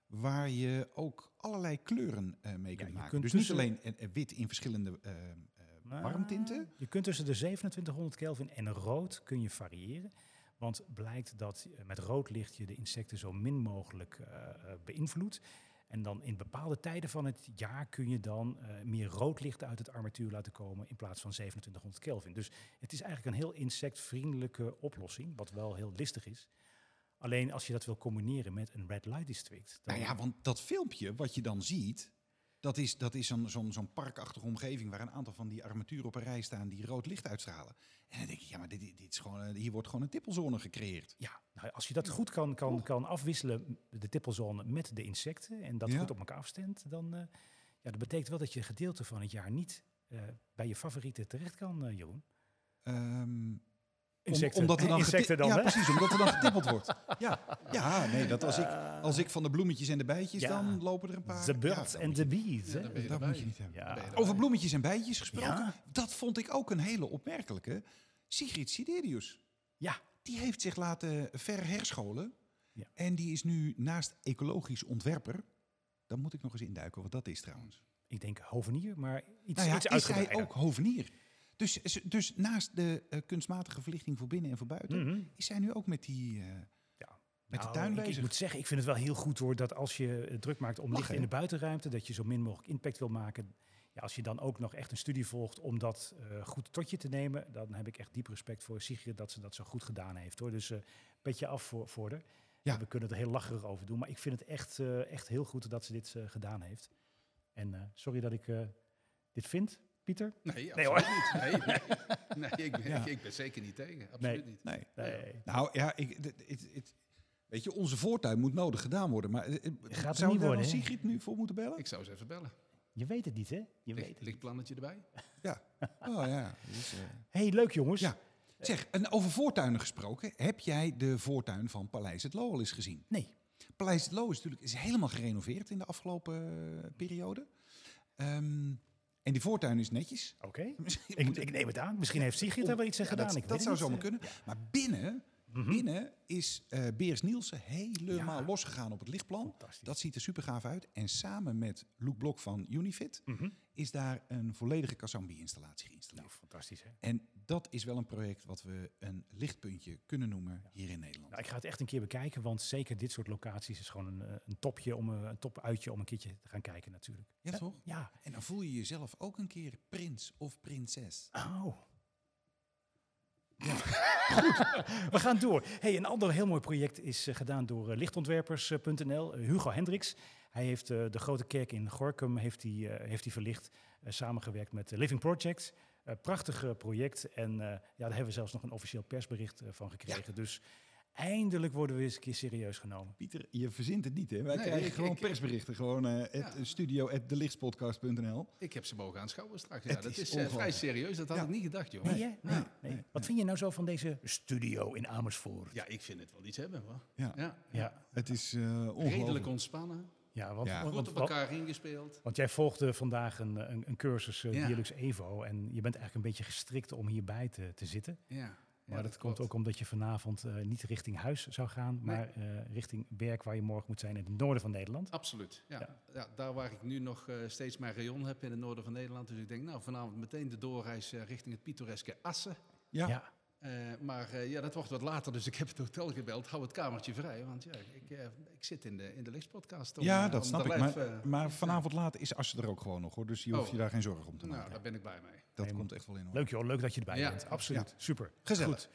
C: Waar je ook allerlei kleuren eh, mee kunt
B: je
C: maken.
B: kunt
C: dus
B: tussen-
C: niet alleen eh, eh, wit in verschillende eh, eh,
B: Maar
C: warmtinten.
B: Je kunt tussen de 2700 Kelvin en rood kun je variëren. Want blijkt dat eh, met rood licht je de insecten zo min mogelijk eh, eh, beïnvloedt. En dan in bepaalde tijden van het jaar kun je dan eh, meer rood licht uit het armatuur laten komen in plaats van 2700 Kelvin. Dus het is eigenlijk een heel insectvriendelijke oplossing, wat wel heel listig is. Alleen als je dat wil combineren met een red light district. dan-
C: Nou ja, want dat filmpje wat je dan ziet, dat is, dat is zo'n zo'n zo'n parkachtige omgeving waar een aantal van die armaturen op een rij staan die rood licht uitstralen. En dan denk je, ja, maar dit, dit is gewoon, eh, hier wordt gewoon een tippelzone gecreëerd.
B: Ja, nou, als je dat goed kan, kan, kan afwisselen, m- de tippelzone met de insecten, en dat
C: Ja.
B: goed op elkaar afstemt, dan eh, ja, dat betekent wel dat je een gedeelte van het jaar niet eh, bij je favoriete terecht kan, eh, Jeroen.
C: Ehm, Om-
B: Insecten,
C: omdat er dan geti-
B: insecten dan,
C: ja,
B: hè?
C: precies, omdat er dan getippeld wordt. Ja, Ah. ja nee, dat als ik, als ik van de bloemetjes en de bijtjes,
B: Ja.
C: dan lopen er een paar.
B: The
C: Ja,
B: birds
C: dat
B: and
C: moet
B: the
C: je-
B: bees.
D: Ja,
B: hè?
D: dan ben je
C: Dat
D: erbij.
C: moet je niet hebben.
B: Ja.
D: Dan ben je
C: Over
D: erbij.
C: bloemetjes en bijtjes gesproken,
B: Ja.
C: dat vond ik ook een hele opmerkelijke. Sigrid Siderius.
B: Ja.
C: Die heeft zich laten verherscholen.
B: Ja.
C: En die is nu naast ecologisch ontwerper. Dan moet ik nog eens induiken wat dat is trouwens.
B: Ik denk hovenier, maar iets,
C: nou ja,
B: iets
C: is hij
B: uitgebreider.
C: ook hovenier. Dus, ze- dus naast de eh, kunstmatige verlichting voor binnen en voor buiten...
B: Mhm.
C: is zij nu ook met die... eh, Met de
B: Nou,
C: tuin
B: ik- Ik,
C: bezig.
B: moet zeggen, ik vind het wel heel goed hoor dat als je eh, druk maakt om
C: Mag,
B: licht in
C: hè?
B: de buitenruimte, dat je zo min mogelijk impact wil maken. Ja, als je dan ook nog echt een studie volgt om dat eh, goed tot je te nemen, dan heb ik echt diep respect voor Sigrid dat ze dat zo goed gedaan heeft hoor. Dus eh petje af voor, voor haar.
C: Ja.
B: En We kunnen er heel lacherig over doen, maar ik vind het echt, eh, echt heel goed dat ze dit eh, gedaan heeft. En eh, sorry dat ik eh, dit vind, Pieter.
D: Nee,
B: Nee,
D: nee
B: hoor.
D: niet. Nee, nee. Nee, ik, ben,
C: Ja.
D: ik ben zeker niet tegen. Absoluut niet.
C: nee.
B: Nee.
C: Nou ja, ik, dit- dit- dit- weet je, onze voortuin moet nodig gedaan worden. Maar eh, eh,
B: er
C: zou
B: niet
C: daar
B: worden,
C: dan
B: hè?
C: Sigrid nu voor moeten bellen?
D: Ik zou eens even bellen.
B: Je weet het niet, hè? Je weet
D: Ligt,
B: het. niet.
D: ligt plannetje erbij?
C: Oh ja. Dus, eh.
B: Hey, leuk jongens.
C: Ja. Zeg, en over voortuinen gesproken. Heb jij de voortuin van Paleis het Loo al eens gezien?
B: Nee.
C: Paleis het Loo is natuurlijk is helemaal gerenoveerd in de afgelopen eh, periode. Ehm, en die voortuin is netjes.
B: Oké.
C: Misschien
B: Ik,
C: moet
B: ik neem het aan. Misschien heeft Sigrid
C: om-
B: daar wel iets aan
C: Ja,
B: gedaan.
C: dat
B: ik
C: dat
B: weet het
C: zou
B: niet,
C: zomaar
B: eh.
C: kunnen. Maar binnen,
B: Mhm.
C: binnen is eh, Beers Nielsen helemaal
B: Ja.
C: losgegaan op het lichtplan.
B: Fantastisch.
C: Dat ziet er super gaaf uit. En samen met Luc Blok van Unifit
B: Mhm.
C: is daar een volledige Kazambi-installatie geïnstalleerd.
B: Nou, fantastisch hè.
C: En dat is wel een project wat we een lichtpuntje kunnen noemen hier in Nederland.
B: Nou, ik ga het echt een keer bekijken, want zeker dit soort locaties is gewoon een, eh, een topje om eh, een topuitje om een keertje te gaan kijken natuurlijk.
C: ja, toch?
B: Ja.
C: En dan voel je jezelf ook een keer prins of prinses.
B: Oh. Goed, we gaan door. Hey, een ander heel mooi project is eh, gedaan door eh, lichtontwerpers.nl, eh, Hugo Hendricks. Hij heeft eh, de grote kerk in Gorkum heeft hij, eh, heeft hij verlicht, eh, samengewerkt met eh, Living Project. Eh, prachtig eh, project en eh, ja, daar hebben we zelfs nog een officieel persbericht eh, van gekregen. Dus eindelijk worden we eens een keer serieus genomen.
C: Pieter, je verzint het niet, hè? Wij
D: Nee,
C: krijgen
D: ik-
C: gewoon
D: ik-
C: persberichten. Gewoon eh at,
D: Ja.
C: eh, studio at delichtspodcast.nl.
D: Ik heb ze mogen aanschouwen straks. Ja,
C: Het
D: dat
C: is
D: is, eh, vrij
C: ongelooflijk.
D: serieus. Dat had
C: Ja.
D: ik niet gedacht, joh.
B: Nee, hè? Nee,
D: nee,
B: nee. Wat vind je nou zo van deze studio in Amersfoort?
D: Ja, ik vind het wel iets hebben, hoor.
C: Ja.
D: Ja.
B: Ja,
C: Het is eh ongelooflijk.
D: Redelijk ontspannen.
B: ja, want,
C: Ja.
B: want-
D: Goed op
B: want-
D: elkaar ingespeeld.
B: Want jij volgde vandaag een, eh, een, een cursus eh,
D: Ja.
B: Dialux Evo en je bent eigenlijk een beetje gestrikt om hierbij te, te zitten.
D: Ja.
B: Maar dat, komt ook omdat je vanavond eh, niet richting huis zou gaan, maar eh, richting werk waar je morgen moet zijn in het noorden van Nederland.
D: Absoluut, ja.
B: Ja.
D: ja. daar waar ik nu nog eh, steeds mijn rayon heb in het noorden van Nederland. Dus ik denk, nou, vanavond meteen de doorreis eh, richting het pittoreske Assen.
C: Ja.
B: Ja,
D: Eh, maar eh, ja, dat wordt wat later, dus ik heb het hotel gebeld. Hou het kamertje vrij, want ja, ik, eh, ik zit in de, in de lichtpodcast. om,
C: ja,
D: eh,
C: dat
D: om
C: snap
D: de
C: ik.
D: live,
C: Maar,
D: eh,
C: maar vanavond laat is Assen er ook gewoon nog hoor. Dus je hoeft
D: Oh.
C: je daar geen zorgen om te maken.
D: nou, daar ben ik blij mee.
C: dat
B: Nee,
C: komt echt wel in hoor.
B: Leuk joh, leuk dat je erbij
D: Ja.
B: bent. Absoluut, super.
C: Gezellig.
B: Goed.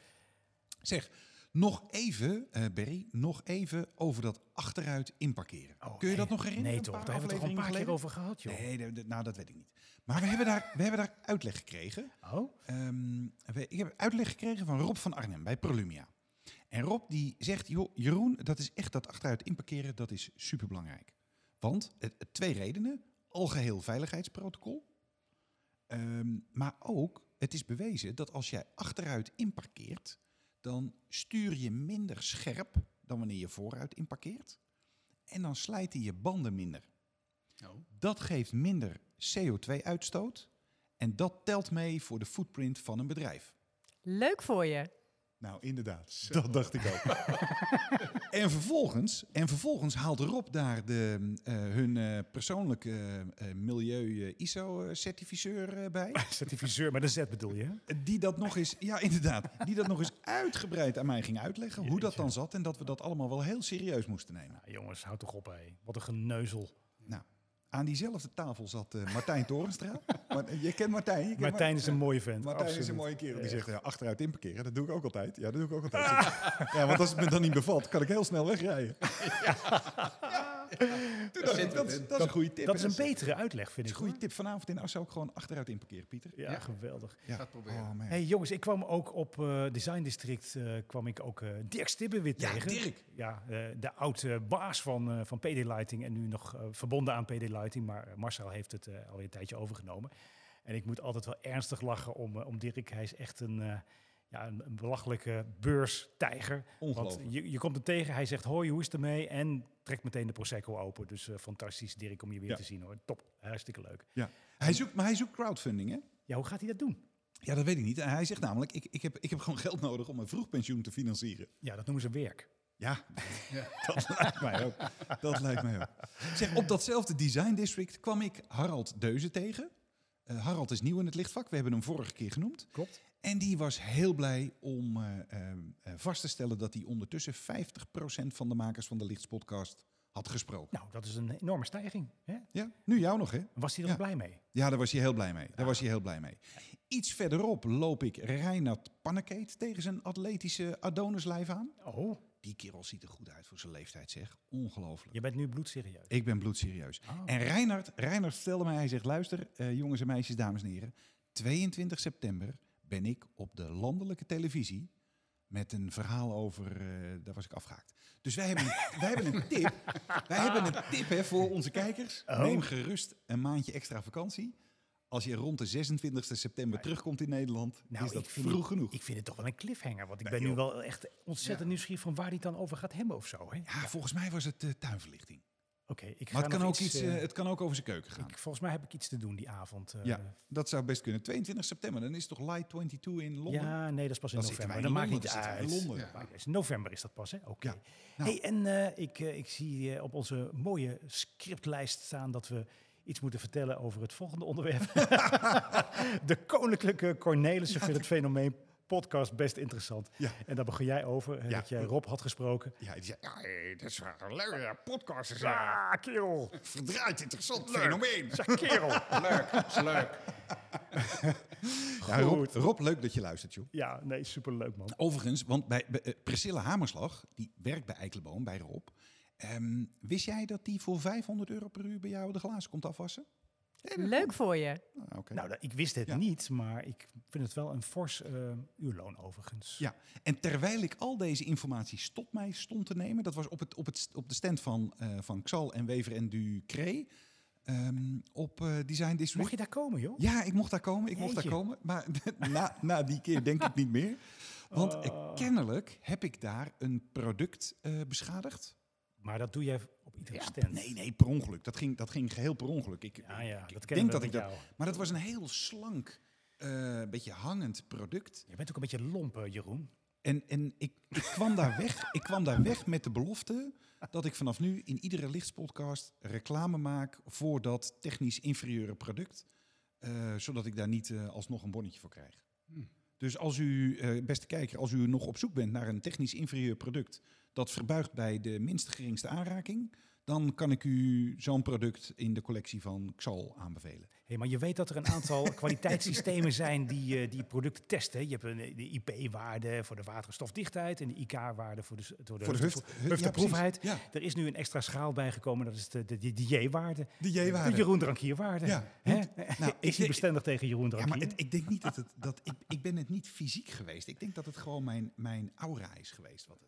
C: Zeg, nog even, eh Berry, nog even over dat achteruit inparkeren.
B: Oh,
C: Kun je dat
B: nee.
C: nog herinneren?
B: Nee
C: Een
B: toch, daar
C: paar
B: hebben we het toch een paar keer
C: afleveringen
B: over gehad joh.
C: geleden? Nee, dat- dat- nou dat weet ik niet. Maar we hebben daar, we hebben daar uitleg gekregen.
B: Oh?
C: Ehm, we- ik heb uitleg gekregen van Rob van Arnhem bij Prolumia. En Rob die zegt, joh, Jeroen, dat is echt dat achteruit inparkeren, dat is superbelangrijk. Want eh, twee redenen, algeheel veiligheidsprotocol. Ehm, maar ook, het is bewezen dat als jij achteruit inparkeert, dan stuur je minder scherp dan wanneer je vooruit inparkeert. En dan slijten je banden minder.
D: Nou,
C: Dat geeft minder CO2-uitstoot. En dat telt mee voor de footprint van een bedrijf.
F: Leuk voor je.
C: Nou, inderdaad. Dat dacht ik ook. en, vervolgens, en vervolgens haalt Rob daar de, eh, hun eh, persoonlijke eh, milieu-ISO-certificeur eh, bij.
B: Certificeur, maar de Z bedoel je? hè?
C: Die dat nog eens, ja inderdaad, die dat nog eens uitgebreid aan mij ging uitleggen. Hoe dat dan zat en dat we dat allemaal wel heel serieus moesten nemen.
B: Nou, jongens, houd toch op hé. Wat een geneuzel.
C: Aan diezelfde tafel zat eh, Martijn Torenstra. Maar, je kent Martijn. Je kent Mar-
B: Martijn is een mooie vent.
C: Martijn is een
B: absoluut.
C: mooie kerel. Die zegt, ja, achteruit inparkeren, dat doe ik ook altijd. Ja, dat doe ik ook altijd. Ja, want als het me dan niet bevalt, kan ik heel snel wegrijden. Ja. Toen dacht ik, dat, is- dat is een goede tip.
B: Dat is
C: hè?
B: een betere uitleg, vind
C: Dat is
B: ik.
C: een goede tip vanavond in Assen ook gewoon achteruit inparkeren, Pieter.
B: hoor. Ja,
D: Ja.
B: geweldig.
C: Ja.
D: Ga het proberen.
C: Oh, man.
B: Hey jongens, ik kwam ook op eh, Design District eh, kwam ik ook eh, Dirk Stibbe weer
C: Ja,
B: tegen.
C: Dirk.
B: Ja, eh, de oud eh, baas van, eh, van PD Lighting en nu nog eh, verbonden aan PD Lighting. Maar eh, Marcel heeft het eh, alweer een tijdje overgenomen. En ik moet altijd wel ernstig lachen om, eh, om Dirk. Hij is echt een, eh, ja, een, een belachelijke beurstijger. Want
C: Ongelooflijk.
B: je, je komt hem tegen, hij zegt hoi, hoe is het ermee? En trekt meteen de Prosecco open. Dus eh, fantastisch Dirk om je weer
C: Ja.
B: te zien hoor. Top, hartstikke leuk.
C: Hij zoekt, maar hij zoekt crowdfunding, hè?
B: Ja, hoe gaat hij dat doen?
C: Ja, dat weet ik niet. En hij zegt namelijk, ik, ik, heb, ik heb gewoon geld nodig om mijn vroegpensioen te financieren.
B: Ja, dat noemen ze werk.
C: Ja, dat lijkt mij ook. Dat lijkt mij ook. Zeg, op datzelfde design district kwam ik Harald Deuze tegen. Eh, Harald is nieuw in het lichtvak. We hebben hem vorige keer genoemd.
B: Klopt.
C: En die was heel blij om eh, eh, eh, vast te stellen dat hij ondertussen 50% van de makers van de Lichtspodcast had gesproken.
B: Nou, dat is een enorme stijging. Hè?
C: Ja, nu jou nog, hè?
B: Was hij er
C: Ja.
B: blij mee?
C: Ja, daar was hij heel blij mee. Daar was hij heel blij mee. Iets verderop loop ik Reinhard Pannekeet tegen zijn atletische Adonislijf aan.
B: Oh,
C: Die kerel ziet er goed uit voor zijn leeftijd, zeg. Ongelooflijk.
B: je bent nu bloedserieus.
C: Ik ben bloedserieus.
B: Oh.
C: En Reinhard, Reinhard vertelde mij, hij zegt, luister, eh, jongens en meisjes, dames en heren. 22 september ben ik op de landelijke televisie met een verhaal over, eh, daar was ik afgehaakt. Dus wij hebben, wij hebben een tip, wij hebben een tip hè, voor onze kijkers.
B: Oh.
C: Neem gerust een maandje extra vakantie. Als je rond de 26 september terugkomt in Nederland,
B: Nou,
C: is dat
B: ik vind
C: vroeg
B: het-
C: genoeg.
B: Ik vind het toch wel een cliffhanger, want ik
C: Nee,
B: ben nu
C: joh.
B: wel echt ontzettend nieuwsgierig van waar die het dan over gaat hebben of zo. Hè?
C: ja, volgens mij was het eh, tuinverlichting.
B: Oké, ik ga
C: Maar het kan,
B: nog
C: ook iets, eh,
B: eh,
C: het kan ook over zijn keuken gaan.
B: ik- volgens mij heb ik iets te doen die avond. eh.
C: Ja, dat zou best kunnen. 22 september, dan is toch Light 22 in Londen?
B: Ja, nee, dat is pas in
C: Dan zitten wij
B: november. Dat maakt
C: in Londen,
B: niet
C: dan zitten
B: uit.
C: wij in Londen.
B: Ja. Maakt niet uit. November is dat pas, hè? Oké.
C: Ja. Nou.
B: Hey, en eh, ik, eh, ik zie eh, op onze mooie scriptlijst staan dat we iets moeten vertellen over het volgende onderwerp. de Koninklijke Cornelissen vindt het fenomeen podcast best interessant.
C: Ja.
B: En daar begon jij over, hè,
C: Ja.
B: dat jij Rob had gesproken.
C: Ja, die zei, ja, eh, dat is waar. een
E: Leuk, podcast is
B: Ja, kerel.
C: verdraaid interessant fenomeen.
B: Zeg, kerel.
D: Leuk, is leuk.
C: Ja, Rob,
B: Goed.
C: Rob, leuk dat je luistert, joh.
B: Ja, nee, superleuk, man.
C: Overigens, want bij, bij, eh, Priscilla Hamerslag, die werkt bij Eikelboom, bij Rob. Ehm, wist jij dat die voor 500 euro per uur bij jou de glazen komt afwassen?
F: Leuk voor je.
C: Ah, oké.
B: Nou, dat- ik wist het
C: Ja.
B: niet, maar ik vind het wel een fors eh, uurloon overigens.
C: Ja, en terwijl ik al deze informatie stop mij stond te nemen, dat was op, het, op, het, op de stand van, eh, van Xal en Wever en Ducré ehm op eh, Design District.
B: Mocht je daar komen, joh?
C: Ja, ik mocht daar komen, ik mocht daar
B: Jeetje.
C: komen. Maar na, na die keer denk ik niet meer. Want eh,
B: Oh.
C: kennelijk heb ik daar een product eh, beschadigd.
B: Maar dat doe jij op iedere stand. Ah,
C: nee, nee, per ongeluk. Dat ging, dat ging geheel per ongeluk. Ik,
B: Ja, ja, dat ken
C: denk
B: ik
C: dat
B: dat
C: ik dat-
B: jou.
C: Maar dat was een heel slank, eh, beetje hangend product.
B: Je bent ook een beetje lomp, eh, Jeroen.
C: En, en ik, ik, kwam daar weg, ik kwam daar weg met de belofte dat ik vanaf nu in iedere lichtspodcast reclame maak voor dat
B: Hmm.
C: technisch inferieure product. eh, zodat ik daar niet eh, alsnog een bonnetje voor krijg. Dus Dus als u, eh, beste kijker, als u nog op zoek bent naar een technisch inferieur product dat verbuigt bij de minst geringste aanraking, dan kan ik u zo'n product in de collectie van Xal aanbevelen.
B: Hey, maar je weet dat er een aantal kwaliteitssystemen zijn die, eh, die producten testen. hè. Je hebt een, eh, de IP-waarde voor de waterstofdichtheid en de IK-waarde voor de, s- voor de,
C: huf-
B: voor-
C: huf-
B: hufteproefheid.
C: Ja, precies.
B: Er is nu een extra schaal bijgekomen, dat is de, de, de DJ-waarde.
C: ja, de
B: De
C: J-waarde.
B: Jeroen Drankierwaarde.
C: Ja,
B: Hè?
C: want- nou,
B: ik
C: ik
B: zie
C: denk-
B: bestendig tegen Jeroen
C: Ja,
B: Drankier.
C: maar het- ik denk niet dat het, dat ik, ik ben het niet fysiek geweest. Ik denk dat het gewoon mijn, mijn aura is geweest. Wat,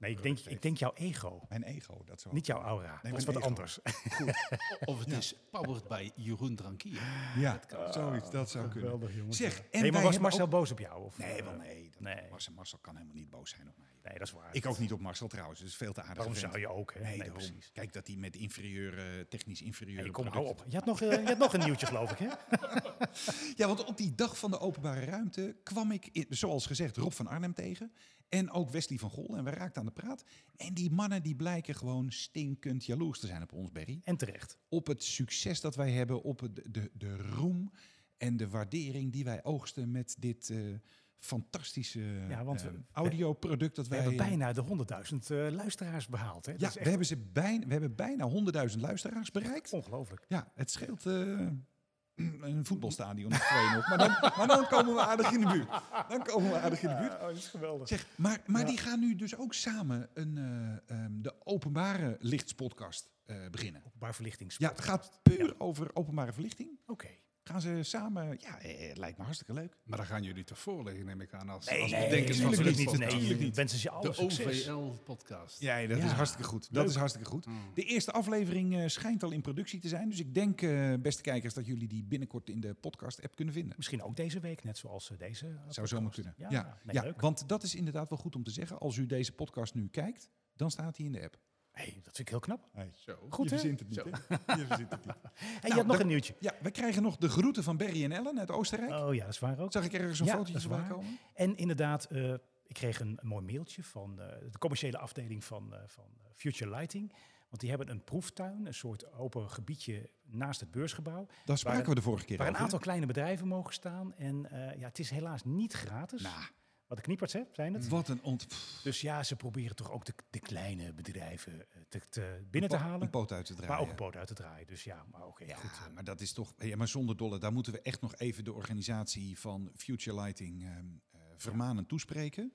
B: nee, ik denk, ik denk jouw ego,
C: mijn ego, dat zo.
B: niet jouw aura.
C: Nee,
B: dat is
C: mijn
B: wat
C: ego.
B: anders.
C: Oh.
D: Of het is powered bij Jeroen Drankier.
C: Ja, zoiets, dat zou kunnen.
B: Ah, Geweldig, jongens.
C: Zeg, en
B: hey,
C: wij
B: maar was
C: hebben
B: Marcel
C: ook-
B: boos op jou? Of,
C: Nee,
B: eh,
C: wel nee. dat-
B: nee.
C: Marcel, Marcel kan helemaal niet boos zijn op mij.
B: Nee, dat is waar.
C: Ik ook niet op Marcel trouwens, dus veel te aardig.
B: Waarom zou je ook? Hè?
C: Nee, daarom.
B: precies.
C: Kijk dat hij met inferieure, technisch inferieure
B: Hey, kom, hou
C: producten-
B: op. Je had, nog, eh, je had nog een nieuwtje, geloof ik, hè?
C: Ja, want op die dag van de openbare ruimte kwam ik, i- zoals gezegd, Rob van Arnhem tegen. En ook Wesley van Gol. En we raakten aan de praat. En die mannen die blijken gewoon stinkend jaloers te zijn op ons, Berry.
B: En terecht.
C: Op het succes dat wij hebben, op het- de, de roem en de waardering die wij oogsten met dit eh, fantastische
B: Ja, want
C: eh,
B: we-
C: audioproduct dat
B: We
C: wij...
B: hebben bijna de 100.000 eh, luisteraars behaald. Hè?
C: Ja,
B: Dat is
C: we
B: echt
C: hebben, ze bijna, we hebben bijna 100.000 luisteraars bereikt.
B: ongelooflijk.
C: Ja, het scheelt eh, een voetbalstadion of 2-0. Maar dan, maar dan komen we aardig in de buurt. Dan komen we aardig in de buurt.
B: Oh, dat is geweldig.
C: Zeg, maar maar die gaan nu dus ook samen een, eh, ehm, de openbare lichtspodcast eh, beginnen.
B: Openbaar verlichtings.
C: Ja, het gaat puur over openbare verlichting.
B: Oké.
C: Gaan ze samen... Ja, eh, het lijkt me hartstikke leuk.
D: Maar daar gaan jullie toch voorleggen, neem ik aan. Als,
B: Nee,
D: als
B: nee,
D: bedenkers van
B: natuurlijk
D: zo'n
B: niet. Nee,
D: podcast.
B: natuurlijk niet. Wensen ze je alle
D: De
B: succes.
D: OVL-podcast.
C: Ja, dat
B: Ja.
C: is hartstikke goed. Dat
B: Leuk.
C: is hartstikke goed.
D: Mm.
C: De eerste aflevering eh, schijnt al in productie te zijn. Dus ik denk, eh, beste kijkers, dat jullie die binnenkort in de podcast-app kunnen vinden.
B: Misschien ook deze week, net zoals eh, deze. eh,
C: Zou
B: podcast.
C: zomaar kunnen. Ja,
B: Ja,
C: ja,
B: nee, leuk.
C: want dat is inderdaad wel goed om te zeggen. Als u deze podcast nu kijkt, dan staat hij in de app.
B: Hey, dat vind ik heel knap.
D: Zo.
B: Goed, hè?
C: verzint het
D: Zo.
C: hè? Je verzint het niet.
B: Hey, je had nog
C: dan-
B: een nieuwtje.
C: Ja, we krijgen nog de groeten van Berry en Ellen uit Oostenrijk.
B: Oh ja, dat is waar ook.
C: Zag ik ergens een
B: Ja,
C: fotootje
B: dat is
C: voorbij
B: waar.
C: komen?
B: En inderdaad, eh, ik kreeg een, een mooi mailtje van eh, de commerciële afdeling van, eh, van Future Lighting. Want die hebben een proeftuin, een soort open gebiedje naast het beursgebouw.
C: Daar spraken
B: Waar-
C: we de vorige keer
B: Waar een
C: over,
B: aantal kleine bedrijven mogen staan. En eh, ja, het is helaas niet gratis.
C: hè? Nou, Mm.
B: Wat de knieperts hè, zijn het.
C: wat een ont... pff,
B: Dus ja, ze proberen toch ook de, de kleine bedrijven eh, te, te binnen te
C: een
B: halen.
C: poot uit te draaien.
B: Maar ook een poot uit te draaien. Dus ja, maar oké,
C: ja,
B: goed. eh.
C: maar dat is toch... Ja, maar zonder dolle, daar moeten we echt nog even de organisatie van Future Lighting ehm, eh, vermanend toespreken.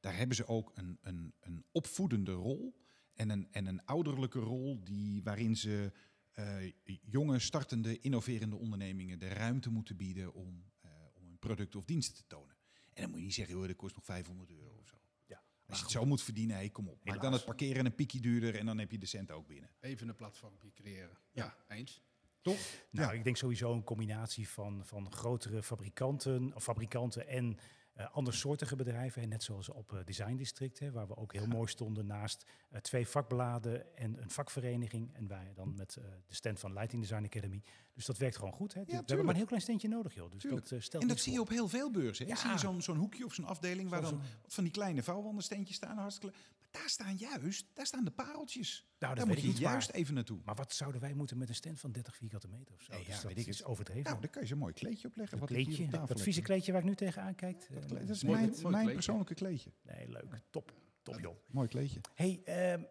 C: Daar hebben ze ook een, een, een opvoedende rol en een, en een ouderlijke rol die, waarin ze eh, jonge, startende, innoverende ondernemingen de ruimte moeten bieden om, eh, om hun producten of diensten te tonen. En dan moet je niet zeggen, joh, dat kost nog 500 euro of zo.
B: Ja,
C: Als je het zo moet verdienen, hey, kom op. Maak dan
B: Helaas.
C: het parkeren een piekje duurder en dan heb je de cent ook binnen.
D: Even een platformpje creëren. Ja, eens.
B: Nou,
C: Ja.
B: ik denk sowieso een combinatie van, van grotere fabrikanten, of fabrikanten en eh andersoortige bedrijven. En net zoals op eh, Design District, hè, waar we ook heel mooi stonden naast eh, twee vakbladen en een vakvereniging. En wij dan met eh, de stand van Lighting Design Academy. Dus dat werkt gewoon goed. Hè. we hebben
C: tuurlijk.
B: maar een heel klein standje nodig, joh. Dus
C: Tuurlijk.
B: dat eh, stelt
C: En dat
B: niks
C: zie je
B: voor.
C: op heel veel beurzen. hè?
B: Ja.
C: Zie je zo'n zo'n hoekje of zo'n afdeling waar
B: Zo'n-
C: dan wat van die kleine vouwwandensteentjes staan. Hartstikke leuk. Maar daar staan juist, daar staan de pareltjes.
B: Nou, dat
C: daar
B: weet
C: moet
B: ik
C: je
B: niet, maar-
C: juist even naartoe.
B: Maar wat zouden wij moeten met een stand van 30 vierkante meter of zo?
C: Nee, ja,
B: dus dat
C: weet ik
B: is overdreven.
C: Nou, daar kan je zo'n mooi kleedje op leggen.
B: dat
C: Wat ik hier
B: kleedje,
C: op
B: dat,
C: tafel
B: dat
C: heb.
B: vieze kleedje waar ik nu tegen aankijk.
C: Dat,
B: eh,
C: kle- dat is
D: Mooi-
C: mijn,
D: mooi
C: mijn
D: kleedje.
C: persoonlijke kleedje.
B: Nee, leuk. Top. Top, joh.
C: Mooi kleedje.
B: Hey, ehm,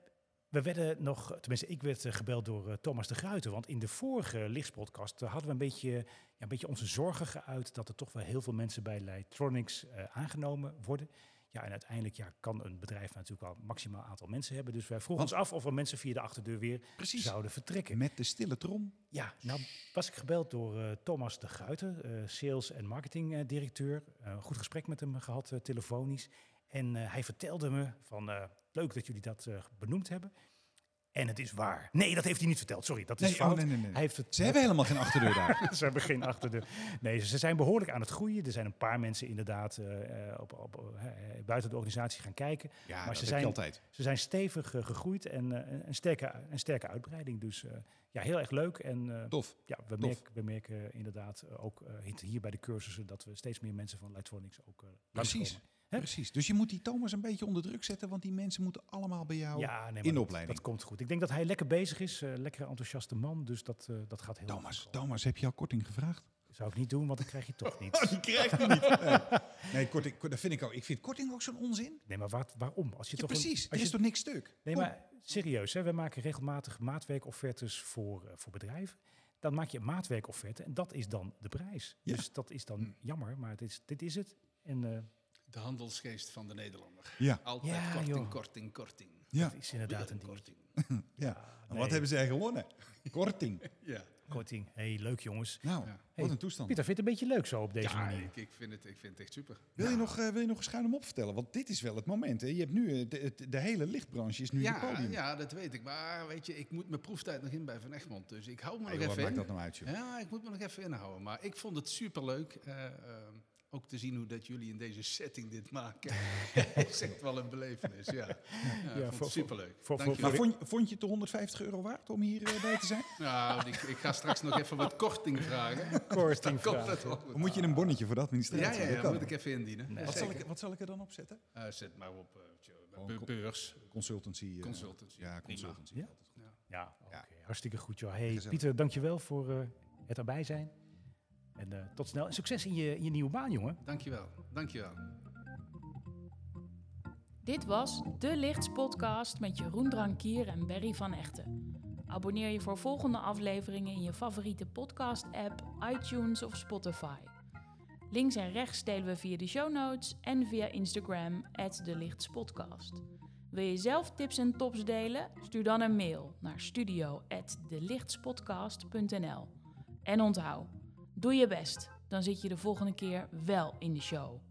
B: we werden nog, tenminste, ik werd eh, gebeld door eh, Thomas de Gruiten. Want in de vorige lichtspodcast eh, hadden we een beetje, ja, een beetje onze zorgen geuit dat er toch wel heel veel mensen bij Lightronics eh, aangenomen worden. Ja, en uiteindelijk ja, kan een bedrijf natuurlijk wel een maximaal aantal mensen hebben. Dus wij vroegen
C: Want-
B: ons af of er mensen via de achterdeur weer
C: Precies.
B: zouden vertrekken.
C: Met de stille trom.
B: Ja, nou was ik gebeld door eh, Thomas de Gruiten, eh, sales- en marketingdirecteur. Eh, een goed gesprek met hem gehad, eh, telefonisch. En eh, hij vertelde me van, eh, leuk dat jullie dat eh, benoemd hebben. En het is waar. Nee, dat heeft hij niet verteld, sorry. Dat is
C: Nee, oh,
B: fout.
C: nee, nee, nee.
B: Hij heeft het,
C: Ze hebben helemaal geen achterdeur daar.
B: ze hebben geen achterdeur. Nee, ze zijn behoorlijk aan het groeien. Er zijn een paar mensen inderdaad eh, eh, op, op, eh, buiten de organisatie gaan kijken.
C: Ja,
B: Maar
C: dat
B: ze
C: heb
B: zijn-
C: je altijd.
B: Ze zijn stevig eh, gegroeid en eh, een- een, sterke, een sterke uitbreiding. Dus eh, ja, heel erg leuk. En eh,
C: Tof.
B: ja, we,
C: Tof.
B: merk- we merken inderdaad eh, ook eh, het- hier bij de cursussen dat we steeds meer mensen van Lightronics ook eh
C: Precies.
B: langskomen. Hè?
C: Precies. Dus je moet die Thomas een beetje onder druk zetten, want die mensen moeten allemaal bij
B: Ja,
C: jou.
B: nee, maar
C: Nou, in de
B: dat-
C: opleiding.
B: Dat komt goed. Ik denk dat hij lekker bezig is, eh lekker enthousiaste man, dus dat, eh, dat gaat heel
C: Thomas,
B: goed komen.
C: Thomas, heb je al korting gevraagd?
B: Zou ik niet doen, want dan krijg Oh, je toch niets.
C: Die krijgt hij niet. Nee, nee korting, ko- dat vind ik ook. Ik vind korting ook zo'n onzin.
B: Nee, maar wat, waarom? Als je
C: Ja,
B: toch een-
C: precies,
B: als
C: er
B: je
C: is toch niks stuk?
B: Nee,
C: Kom.
B: maar serieus, hè, we maken regelmatig maatwerkoffertes voor, eh, voor bedrijven. Dan maak je een maatwerkofferte en dat is dan de prijs.
C: Ja. Hmm.
B: Dus dat is dan jammer, maar dit is, dit is het. En eh,
D: De handelsgeest van de Nederlander.
C: Ja,
D: Altijd
B: Ja,
D: korting,
B: joh.
D: korting, korting.
C: ja,
B: dat is inderdaad
D: Weer
B: een
D: een
B: ding.
D: korting.
C: ja.
D: Ah,
C: En
B: nee.
C: wat hebben zij gewonnen? Korting.
D: Ja,
B: Korting. hey, leuk jongens.
C: Nou,
D: Ja.
C: wat een toestand.
B: Pieter vindt het een beetje leuk zo op deze
D: ja
B: manier.
D: ik, ik, vind het, ik vind het echt super.
C: Wil, je nog, eh, wil je nog een schuin hem op vertellen? Want dit is wel het moment. Hè? Je hebt nu, eh, de, de- de hele lichtbranche is nu je
D: Ja,
C: podium.
D: ja, dat weet ik. Maar weet je, ik moet mijn proeftijd nog in bij Van Egmond. Dus ik hou me
C: Hey,
D: nog
C: wat
D: even
C: maakt
D: in.
C: dat nou uit, joh?
D: Ja, ik moet me nog even inhouden. Maar ik vond het superleuk. eh, ehm, ook te zien hoe dat jullie in deze setting dit maken. is echt wel een belevenis, ja. ja, ik vond
B: voor-
D: het superleuk.
B: voor-
D: Dank
B: voor-
C: Maar
D: jullie.
C: vond, je- vond je het de 150 euro waard om hier eh, bij te zijn?
D: Nou, ik, ik ga straks nog even wat korting vragen. Dan
B: Korting
D: komt dat
B: vragen.
D: wel
C: Of
D: goed.
C: moet je een bonnetje voor de
D: Ja,
C: administratie?
D: ja,
C: Dat
D: ja,
C: kan.
D: moet ik even indienen.
B: Nee.
D: Ja,
C: wat, zal
D: zeker.
C: ik, wat zal ik er dan op zetten?
D: Eh, zet maar op eh, tje,
C: Oh,
D: be-
C: kom-
D: beurs,
C: Consultancy. eh,
D: consultancy.
C: Ja,
D: Prima.
C: consultancy.
B: Ja?
C: altijd goed.
B: Ja, oké.
C: Ja.
B: Hartstikke goed, joh. Hey,
C: Gezellig.
B: Pieter, dankjewel voor eh, het erbij zijn. En eh, tot snel. En succes in je, in je nieuwe baan, jongen.
D: Dankjewel, dankjewel.
A: Dit was De Lichts Podcast met Jeroen Drankier en Berry van Echten. Abonneer je voor volgende afleveringen in je favoriete podcast-app, iTunes of Spotify. Links en rechts delen we via de show notes en via Instagram, De Lichts Podcast. Wil je zelf tips en tops delen? Stuur dan een mail naar studio.delichtspodcast.nl. En onthoud, doe je best, dan zit je de volgende keer wel in de show.